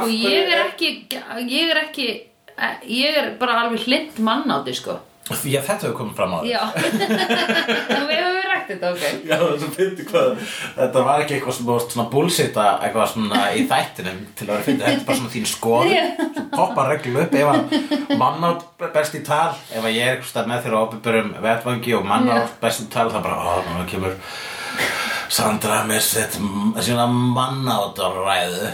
Og ég er ekki, ég er ekki Ég er bara alveg hlind mann á því sko
Já, þetta hefur komið fram á því
Já Við hefum rækt þetta, ok
Já, það sem fyndi hvað Þetta var ekki eitthvað sem þú varst svona bullsita eitthvað svona í þættinum til að vera fyndi þetta er bara svona þín
Já.
skoðun Svo poppar reglu upp ef að mannátt best í tal ef að ég er eitthvað með þér á opiðbörum vetvangi og mannátt best í tal þá bara, ó, núna kemur Sandra með sitt sína mannáttarræðu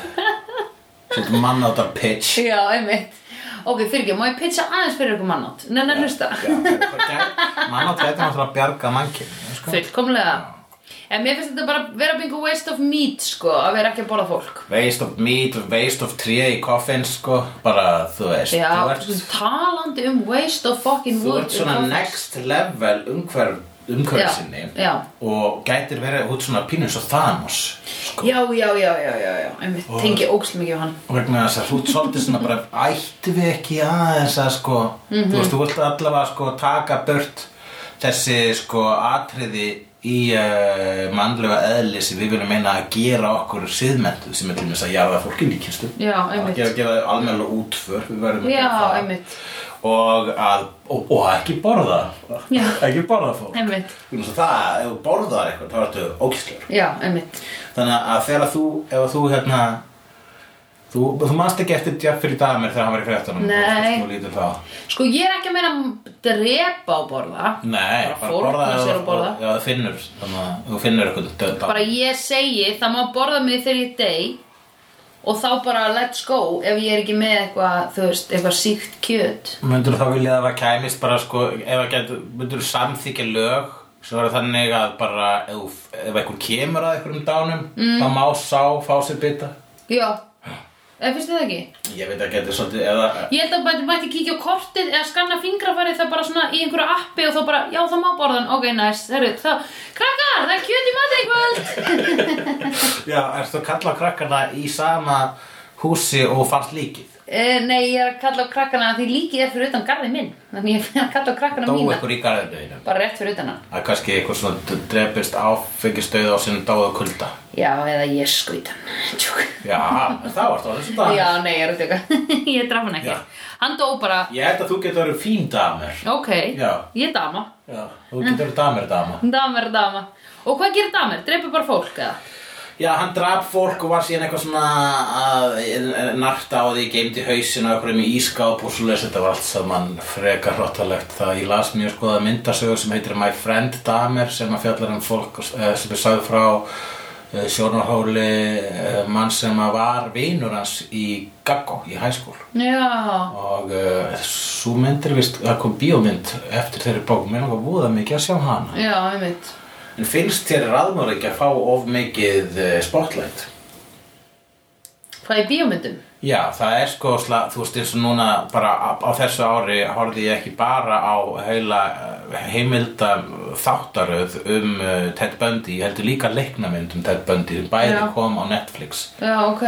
sitt mannáttar pitch
Já, einmitt Ok, fyrir ekki, má ég pitcha aðeins fyrir ykkur mannátt? Nei, nei, hlusta
mannátt veitum að það bjarga mannkinn sko.
Fullkomlega En mér finnst þetta bara vera bingo waste of meat sko Að vera ekki að borða fólk
Waste of meat, waste of tré í koffin sko, bara þú veist
Já,
þú ert
talandi um waste of fucking
Þú
wood sko.
ert svona next level umhverf,
Já,
umhverfinni
já.
og gætir verið út svona pínu svo Thanos
Já, já, já, já, já, já Einmitt, tengi ógst mikið á hann
vegna þess að þú ert svolítið svona bara ættu við ekki aðeins að sko
Mhm.
þú veist, þú vilt allavega sko taka burt þessi sko atriði í uh, mannlega eðli sem við viljum meina að gera okkur siðmentu sem er til þess að jarða fólkinni kynstu
Já,
að
einmitt
gefa, gefa almennilega útför við verðum að
Já,
gera það.
einmitt
og, að, og, og ekki borða
Já.
ekki borða fólk
Einmitt
Þannig að það, ef þú borðar eitthvað, þá ertu ókýrslur.
Já, einmitt
Þannig að þegar þú, ef þú hérna, þú, þú manst ekki eftir Jeffrey Dahmer þegar hann var í fréttunum.
Nei.
Þú lítur þá.
Sko, ég er ekki að meina að drepa á borða
Nei,
Bara fórna sér
ef
að borða.
Já, þú finnur, þannig að þú finnur eitthvað döð.
Bara ég segi, það má borða mig þegar ég dey Og þá bara let's go Ef ég er ekki með eitthvað, þú veist, eitthvað síkt kjöt
Myndur þá vilja að það kæmist bara sko, ef að getur, myndur samþykja lög sem verður þannig að bara ef, ef einhver kemur að einhverjum dánum,
Mm.
þá má sá fá sér bita.
Já, eða finnst þið það ekki?
Ég veit ekki, þetta er svolítið, eða,
Ég held að maður mætti kíkja á kortið eða skanna fingrafærið það bara svona í einhverju appi og þá bara, já það má borðan, ok, næs, nice. herru, þá, krakkar, það er kjöt í matri í kvöld!
já, ertu að kalla krakkana í sama húsi og fannst líkið?
uh, nei, ég er að kalla á krakkana því líkið er fyrir utan garði minn, þannig ég er að kalla á krakkana
Dóu
mína,
ykkur í garðinu
bara rétt fyrir utan hann.
að kannski eitthvað svona drefist áfengistöð á sinni dáða kulda
Já, eða ég skvít hann, tjúk.
já, það var stóðan sem dag
Já, nei, ég er að tjóka, ég draf hann ekki.
Ah. Já.
Hann dó bara,
ég held að þú getur verið fín damer
ok,
Já.
ég er dama,
já. þú getur verið damer dama
damer er dama. Og hvað gerir damer? Dreipur bara fólk eða?
Já, hann draf fólk og var síðan eitthvað svona að eh, narta á því geimdi hausinu og einhverjum í ískáp og svo þetta var allt saman frekar hróttalegt það ég las mjög skoða myndasögur sem heitir My Friend Damer sem að fjallar um fólk eh, sem er sagði frá eh, sjónarhóli eh, mann sem að var vinur hans í Gaggo í hæskól
Já,
og uh, svo myndir vist, það kom bíómynd eftir þeirri bók, mér langar voða mikið að sjá hana
já, einmitt
En finnst þér raðmur ekki að fá of mikið eh, spotlight?
Hvað er bíómyndum?
Já, það er sko, sla, þú veist eins og núna bara á, á þessu ári horfði ég ekki bara á heila eh, heimilda þáttaröð um uh, Ted Bundy, ég heldur líka leiknamynd um Ted Bundy, sem bæði
Já.
kom á Netflix
Já, ok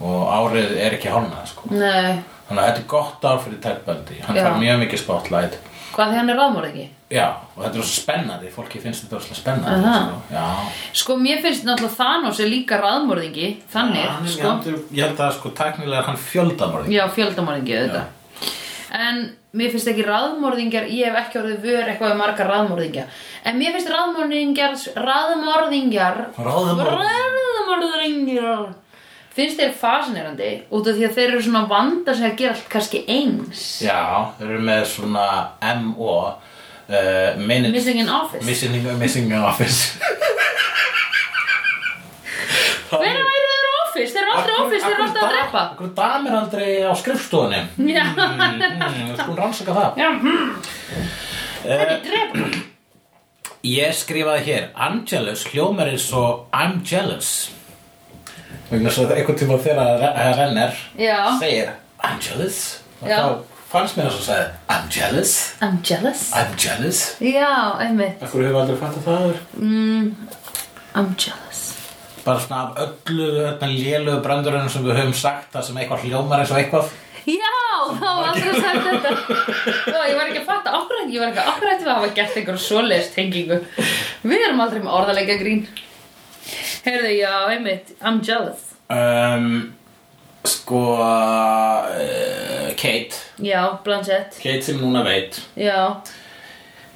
og árið er ekki hálnað sko.
Nei,
Þannig að þetta er gott ár fyrir Ted Bundy, hann
Já.
fær mjög mikið spotlight.
hvað því hann er ráðmorðingi?
Já, og þetta er svo spennandi, fólki finnst þetta rosalega spennandi.
Aha.
Sko. Já.
Sko, mér finnst náttúrulega Thanos er líka ráðmorðingi Þannig,
Hann er-
sko
Ég held að sko, teknilega hann fjöldamorði.
Já, fjöldamorðingi auðvitað En mér finnst ekki ráðmorðingjar Ég hef ekki orðið vör eitthvað við marga ráðmorðingja En mér finnst ráðmorðingjar Ráðmorðingjar
Ráðmorð-
Ráðmorðingjar Finnst þeir fascinerandi Út af því að þeir eru svona vanda sem að gera allt kannski eins
Já, þeir eru með svona MO uh, minute,
Missing in office
Missing, missing in office
Hvenær væri þeir office? Þeir eru aldrei office, þeir eru alltaf að drepa
Akkur Hmm. damir aldrei á skrifstofunni
Já,
mm, Sko rannsaka það
já hmm. Þeir eru drepa
Ég skrifaði hér I'm jealous hljómar eins og I'm jealous Vegna svo einhvern tíma þegar að renner
Já.
segir I'm jealous og
Já.
þá fannst mér þess að segja I'm jealous,
I'm jealous
I'm jealous
Já, einmitt
Akkur hefur aldrei fatt að það aður
I'm jealous
bara svona af öllu öllu lélugu brandurinn sem við höfum sagt það sem eitthvað hljómar eins og eitthvað
Já, þá var aldrei að sagt þetta Já, ég var ekki að fatta ákveðin Ég var ekki að ákveðin við að hafa gert einhver svoleiðist tengingu Við erum aldrei með orðalega grín Heyrðu, já, einmitt I'm jealous
um, sko uh, Kate
Já, Blanchett
Kate sem núna veit
Já,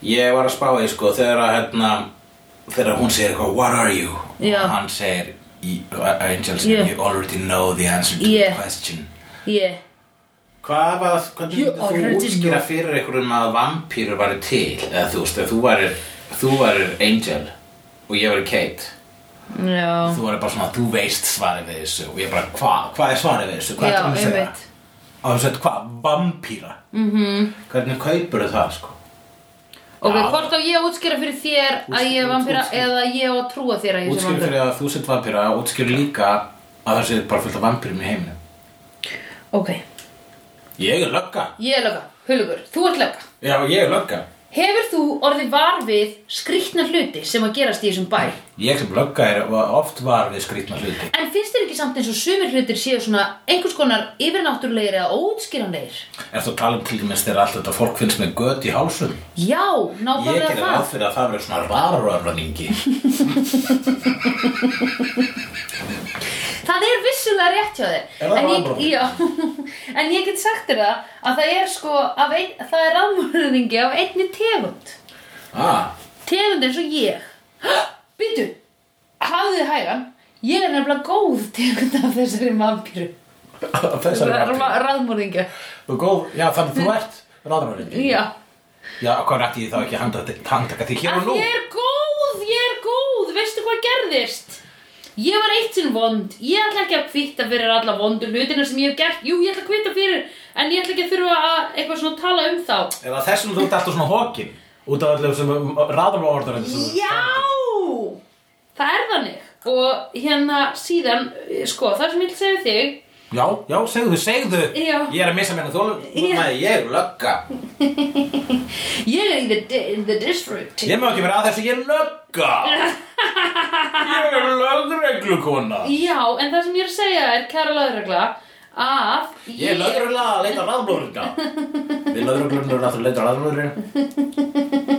ég var að spá því sko þegar að hérna þegar hún segir eitthvað what are you
Já.
og hann segir "You- Angel
Yeah.
segir you already know the answer to
Yeah.
the question
ég
Hvað var, hvernig
You
myndir þú
already
útskýra
know.
fyrir einhverjum að vampýru væri til eða þú veist, ef þú værir þú værir Angel og ég væri Kate
Já,
þú verður bara svona, þú veist svarið við þessu og ég bara, hvað, hvað er svarið við þessu,
já,
hvað er það að segja
einmitt Mhm.
og þú segir, hvað, vampýra mm -hmm. hvernig kaupur það, sko
Ok,
Já.
hvort á ég að útskýra fyrir þér að ég er vampíra eða ég á að trúa þér að ég sé
útskýr
vampíra
fyrir að þú sett vampýra útskýr líka að það sé bara fullt af vampýrum í heiminu
Ok,
ég er lögga,
ég er lögga, hulugur, þú ert lögga
já, ég er lögga
Hefur þú orðið var við skrýtna hluti sem að gerast í þessum bæ?
ég sem lögga er oft var við skrýtna hluti
En finnst þér ekki samt eins og sumir hlutir séu svona einhvers konar yfirnáttúrulegir eða óutskýranlegir?
ef þú tala um til dæmis þegar allt þetta fólk finnst með göt í hálsum
Já,
Ég
nákvæmlega
gerði ráð
það.
fyrir að það verður svona varuröfraningi
Það er vissulega rétt hjá þér.
Er það
En ég,
ráðmorðingi?
já, en ég get sagt þér það að það er sko, af ein, það er ráðmörðingi af einni tegund.
ah,
Tegund eins og ég. Býtu, hafðu þið hægan. Ég er nefnilega góð tegund af þessari vampíru.
Þessar er vampýra
Ráðmörðingi.
Þú góð, já þannig þú ert ráðamörðingi
Já.
Já, hvað rætti ég þá ekki að handa- handtaka þig hér og
Að
nú?
ég er góð, ég er góð, veistu hvað gerðist? Ég var eitt sinn vond, ég ætla ekki að kvitta fyrir alla vondu hlutina sem ég hef gert Jú, ég ætla að kvitta fyrir, en ég ætla ekki að þurfa að eitthvað svona tala um þá
Er það þessum þú ert alltaf svona hókin? Út af allir sem ráðamörðurinn
Já, það er þannig Og hérna síðan, eh, sko, það sem ég ætla að segja við þig
Já, já, segðu, segðu
Já.
Ég er að missa mér að þólum
Já.
Nei, ég er lögga
Ég er í the, di- in the district
Ég má ekki vera að þessu, ég er lögga Ég er lögreglukona
Já, en það sem ég er að segja er, kæra lögregla að
Ég er lögregla að leita ráðamörðinga Við lögreglunum erum að leita ráðamörðinga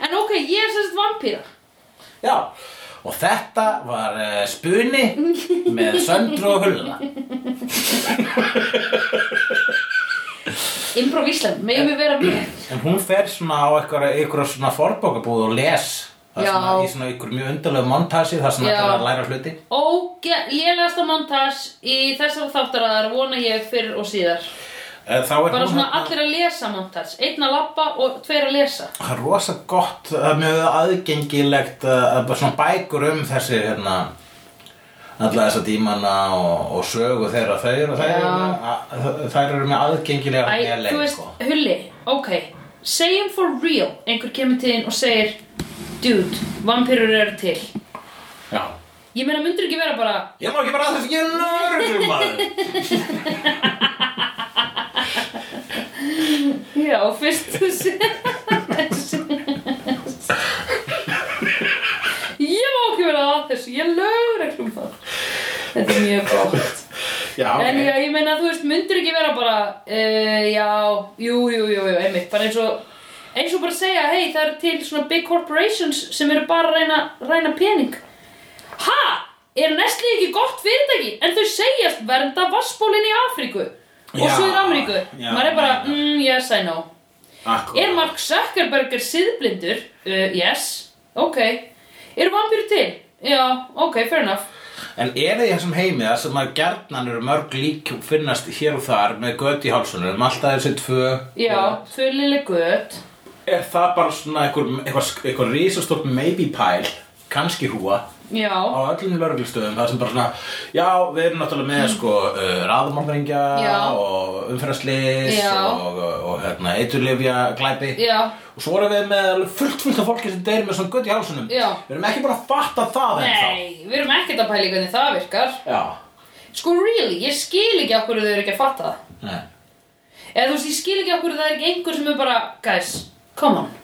En ok, ég er sérst vampíra
Já Og þetta var uh, spuni með söndru og hulla.
Improv Ísland, megum við vera með
En hún fer svona á einhverja, einhverja svona forbókabúð og les það
Já.
er svona í svona ykkur mjög undarlegu montasi það er svona
Já.
til að læra hluti
Ógælegasta montas í þessar þáttaraðar vona ég fyrr og síðar.
Eh, þá er
Bara
hún
svona
þarna-
allir að lesa montas. Einn að labba og tveir að lesa.
það er rosa gott það er mjög aðgengilegt eh, að bara svona bækur um þessi hérna alla þessa dímana og, og sögu þeirra þau eru þær,
Já.
eru- að- þær eru með aðgengilega
Æ,
vel
þú
leið,
veist,
sko.
Hulli, ok. Segjum for real. Einhver kemur til þín og segir Dude, vampýrur eru til.
Já.
Ég meina, myndur ekki vera bara
ég má ekki bara að þessu ég er lögreglum maður
Já, fyrst þú sé Ég má ekki vera að þessu, ég lögur ekki um það Þetta er mjög gott
já,
En já,
okay.
ég meina, þú veist, myndur ekki vera bara uh, Já, jú, jú, jú, jú, einmitt Bara eins og, eins og bara segja Hei, það eru til svona big corporations sem eru bara að ræna, ræna pening Ha? Er Nestlé ekki gott fyrirtæki? En þau segjast vernda vassbólinn í Afríku Og
Já,
Suður Ameríku
já,
Maður er bara,
já.
mm, yes, I know
Akkurat.
Er Mark Zuckerberg er síðblindur? Uh, yes, ok Eru vampýru til? Já, ok, fair enough
En er það í þessum heimi það sem að gerðnan eru mörg lík finnast hér og þar með gött í hálsunum, alltaf þessi tvö
Já, tvö lille gött
Er það bara svona einhver, einhver, einhver risastort maybe pile, kannski húa á
Já,
öllum lörglustöðum það sem bara svona, já, við erum náttúrulega með sko uh, raðmálringja
Já.
og umferðarslis
Já.
og, og, og hérna, eiturlifja glæpi
já,
og svo erum við með alveg fullt fullt af fólki sem deyr með svona gött í hálsunum
Já.
við erum ekki bara að fatta það ennþá
nei, við erum ekkert að pæla í hvernig það virkar
Já,
Sko, really, ég skil ekki af hverju þau eru ekki að fatta það
nei
Eða þú veist, ég skil ekki af hverju það er ekki einhver sem er bara Guys, come on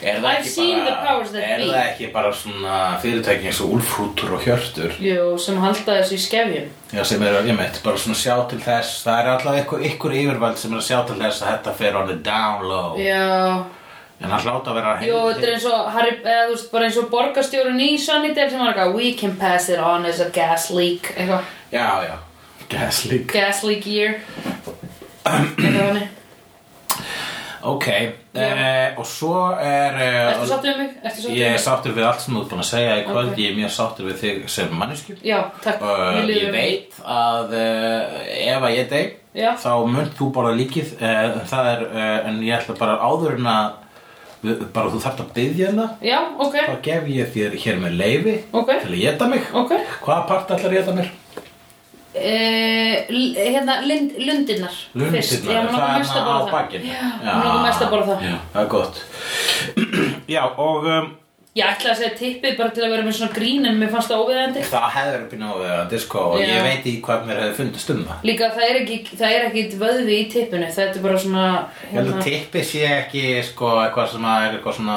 Er það
I've
ekki
seen the
bara,
powers that
er
be.
það ekki bara svona fyrirtæki eins og úlfrútur og hjörtur
Jú, sem halda þessu í skefjum
Já, sem er, ég meitt, bara svona sjá til þess það er alltaf ykkur, ykkur yfirvald sem er að sjá til þess að þetta fer on the down low
Já,
en hann hláta að vera
jú, þetta er eins og Harry, eða þú veist, bara eins og borgarstjórun í Sunnydale sem var eitthvað We can pass it on as a gas leak, eitthvað
Já, já, gas leak
Gasly Gear Eitthvað hannig
Ok,
Já.
eh, og svo er
Ertu
eh,
sáttur við mig? Ertu sáttur
Ég
við
er
mig?
sáttur við allt sem þú ert búin að segja í kvöld
Ok.
Ég er mjög sáttur við þig sem manneskju
Já, takk
Uh,
Mér líður
ég
vel.
veit að uh, ef að ég dey
Já.
þá munt þú borða líkið uh, það er, uh, en ég ætla bara áður en að við- bara þú þarft að byggja hana
Já, ok
þá gef ég þér hér með leifi
Ok.
til að geta mig
Ok
hvaða part ætlar að geta mér?
Eh, l- Hérna, lund, lundirnar Fyrst, já, mér langar
Lundirnar, það er
mest að
hana á
borða það
bakinu
Já, mér langar mest að borða það
Já, það er gott Já, og um,
Ég ætlaði að segja tippið bara til að vera með svona grín en mér fannst það óviðandi
það hefði verið pínu á uh, disco og
Já. Hérna.
ég veit í hvað mér hefði fundist um það
Líka það er ekki, það er ekki vöðvi í tippinu Þetta er bara svona hérna.
Ég held að tippi sé ekki sko, eitthvað sem að er eitthvað svona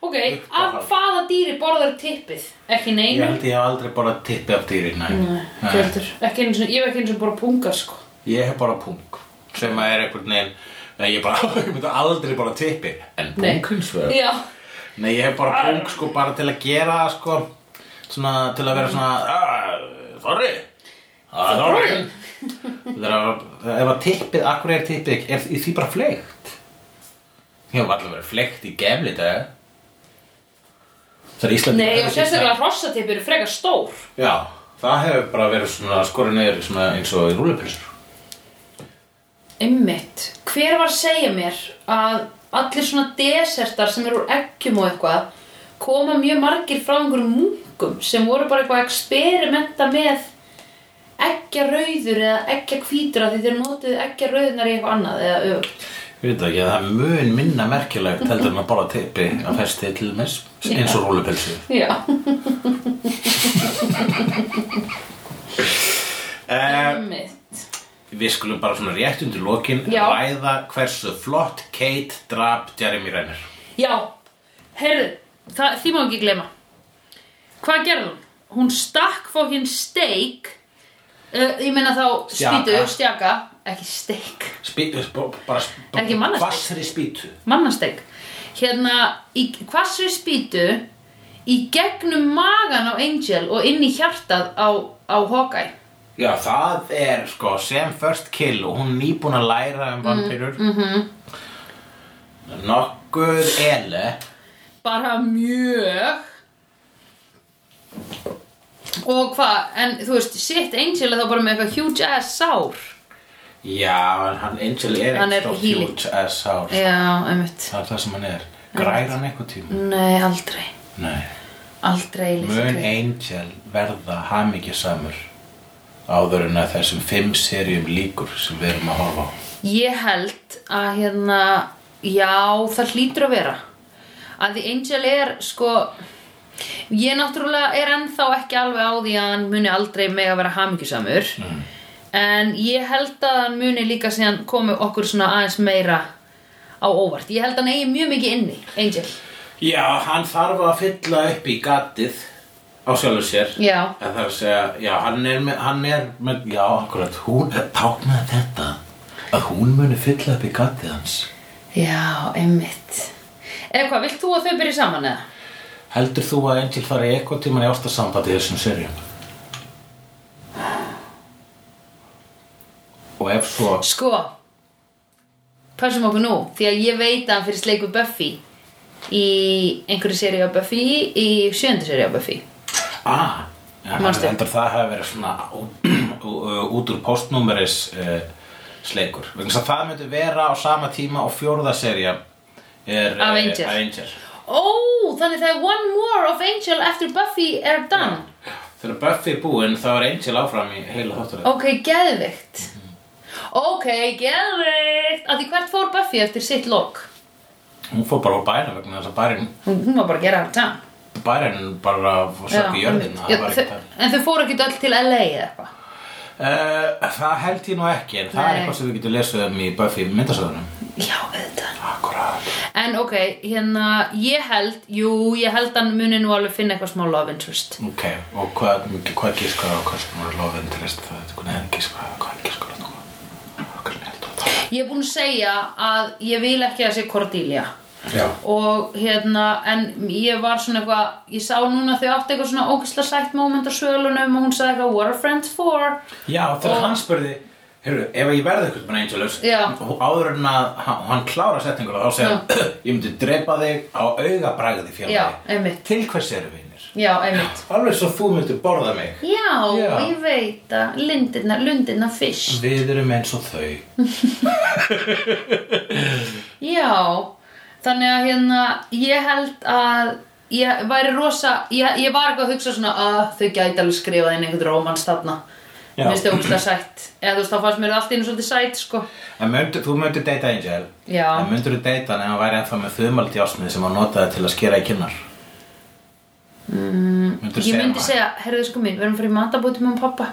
Ok,
Uppáhald.
af hvaða dýri borðar tippið? Ekki
Ég
neinu
held ég hef aldrei bara tippi af dýri, nei.
Nei, ekki heldur. Ekki einu sinni- Ég hef ekki eins og bara punga sko
Ég hef bara pung, sem að er einhvern veginn, nei, ég bara, ég myndi aldrei bara tippi, en
Nei.
pung hins vegar.
Já
Nei, ég hef
Ah.
bara pung, sko, bara til að gera það, sko, svona, til að vera svona, "Ah, sorry, ah, sorry. Þegar að, ef að tippið, akkur er tippið, ekki- er því bara fleikt? Ég hef allir verið fleikt í gemli dag. Það er Íslandi.
Nei, og sérstaklega hrossatipp eru frekar stór
Já, það hefur bara verið svona skorið niður svona eins og í rúlupilsur.
Einmitt, hver var að segja mér að allir svona desertar sem eru úr eggjum og eitthvað koma mjög margir frá einhverjum munkum sem voru bara eitthvað að experimenta með eggjarauður eða eggjahvítur af því þeir notuðu eggjarauðnar í eitthvað annað eða öfugt.
Ég veit ekki að það er mun minna merkilegt heldur en að bara tippi að festi til þess eins og rúlupilsu.
Já,
Uh,
einmitt.
við skulum bara svona rétt undir lokin
Já.
ræða hversu flott Kate drap Jeremy Renner.
Já, heyrðu, það- því má ekki glema. Hvað gerði hún? Hún stakk fókinn steik, uh, ég meina þá
Stjaka.
spýtu, stjaka, ekki steik.
Spýtu, eh, sp- bara
Er ekki
sp-
mannasteg?
hvassri spýtu.
mannasteg hérna, í hvassri spýtu í gegnum magan á Angel og inn í hjartað á, á Hawkeye
Já, það er sko sem first kill og hún er nýbúin að
mhm.
læra um vampirur. Mm -hmm. Nokkuð ele.
bara mjög og hvað, en þú veist, sitt Angel er þá bara með eitthvað huge ass sár
Já, en hann Angel er
Hann er
ekkert stórt
healing.
huge ass sár
já, Mm. einmitt
Það er það sem hann er Græðir hann eitthvað tíma?
nei, aldrei,
Nei
aldrei
Mun
Elizabeth.
Angel verða hamingjusamur áður en að þessum fimm seríum líkur sem við erum að horfa á
ég held að hérna já, það hlýtur að vera að því Angel er sko ég náttúrulega er ennþá ekki alveg á því að hann muni aldrei mega vera hamingjusamur en ég held að hann muni líka síðan komi okkur svona aðeins meira á óvart, ég held að hann eigi mjög mikið inni Angel,
Já, hann þarf að fylla upp í gatið á sjálfur sér
já
En það er að segja, já, hann er með, hann er með, já, akkurat, hún táknaði þetta að hún muni fylla upp í gatið hans.
já, einmitt eða hvað, vilt þú að þau byrja saman eða?
Heldur þú að Angel fari eitthvað tíman í ástasambandi í þessum serjum? Og ef svo,
Sko Pössum okkur nú Því að ég veit að hann fyrir sleiku Buffy Í einhverju séri á Buffy Í sjöndu séri á Buffy
ah, ja, hann
Manstu?
heldur það hafi verið svona ú- út úr postnúmeris uh, sleikur. Vegna þess að það myndi vera á sama tíma og fjórða serja er
Af
eh,
Angel.
af Angel.
Ó, þannig það er one more of Angel After Buffy er done
Þegar Buffy er búinn þá er Angel áfram í heila þátturinn.
Ok, geðvikt Ok, geðvikt Af því hvert fór Buffy eftir sitt lok
Hún fór bara á bæra vegna þess að bærin,
Hún, hún var bara að gera þetta
bærin bara sökk í jörðina, það var ekki það.
En þau fóru ekki öll til LA eða eitthvað
Uh, það held ég nú ekki, en það er
Nei.
eitthvað sem við getum lesið um í Buffy myndasöðunum.
Já, auðvitað
Akkurát.
En ok, hérna, ég held, jú, ég held hann muni nú alveg finna eitthvað smá love interest.
Ok, og hvað, mikið- hvað gískar á hvað sem voru lofinn til þess það, hvernig er gískar á hvað gískar á það? Hvernig heldur þú það?
Ég er búin að segja að ég vil ekki að sé Cordelia.
Já.
Og hérna, en ég var svona eitthvað, ég sá núna þau átti eitthvað svona ógislega sætt moment á svölunum og hún sagði eitthvað, what are friends for?
Já, þegar
Og-
hann spurði, heyrðu, ef ég verði eitthvað með Angelus,
Já.
og áður en að hann, hann klára setninguna, þá segir hann, ég myndi drepa þig á augabræði fjöldið.
Já, einmitt.
Til hvers eru vinir?
Já, einmitt.
Alveg svo þú myndir borða mig.
Já,
Já.
ég veit að lindirna, lundirna fyrst.
Við erum eins og þau
Já, þannig að hérna, ég held að ég væri rosa, ég, ég var eitthvað að hugsa svona að þau gæti alveg skrifað inn einhvern rómans þarna.
Já.
Mér finnst þau ógustlega sætt. Eða þú veist, þá fannst mér allt einu svolítið sætt, sko.
En myndir, þú myndir deyta Angel
Já.
En myndir þú deyta hann ef hann væri ennþá með þumald í ásmið sem hann notaði til að skera í kynnar mm, Myndir
Ég myndi segja, herðu sko mín, við erum að fara í matabóti með pappa.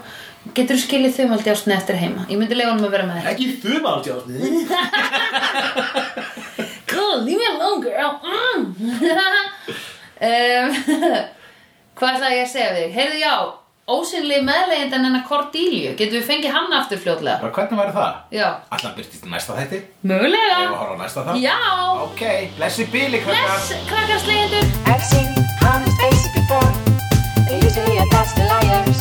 Getur þú skilið þau aldrei ástinni eftir heima? Ég myndi lega honum að vera með þér.
Ekki þumald í ásmið
Cool, leave me alone, girl. Mm. um, hvað ætlaði ég að segja við þig? Heyrðu, já, ósynlega meðlegjandi en hennar Cordelia. Getum við fengið hann aftur fljótlega?
Hvernig væri það?
Já.
Alla byrtist í næsta þætti Ef að
Mögulega.
horfa á næsta þátt
Já.
Ok, blessi bíli krakkar
Bless, krakkarsleigjendur.
I've seen honest faces before. They're usually a pass the liars.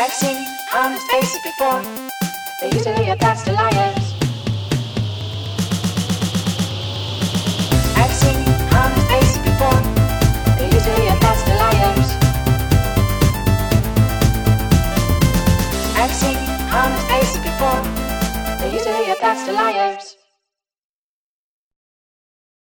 I've seen honest faces before. They're usually a pass the liars.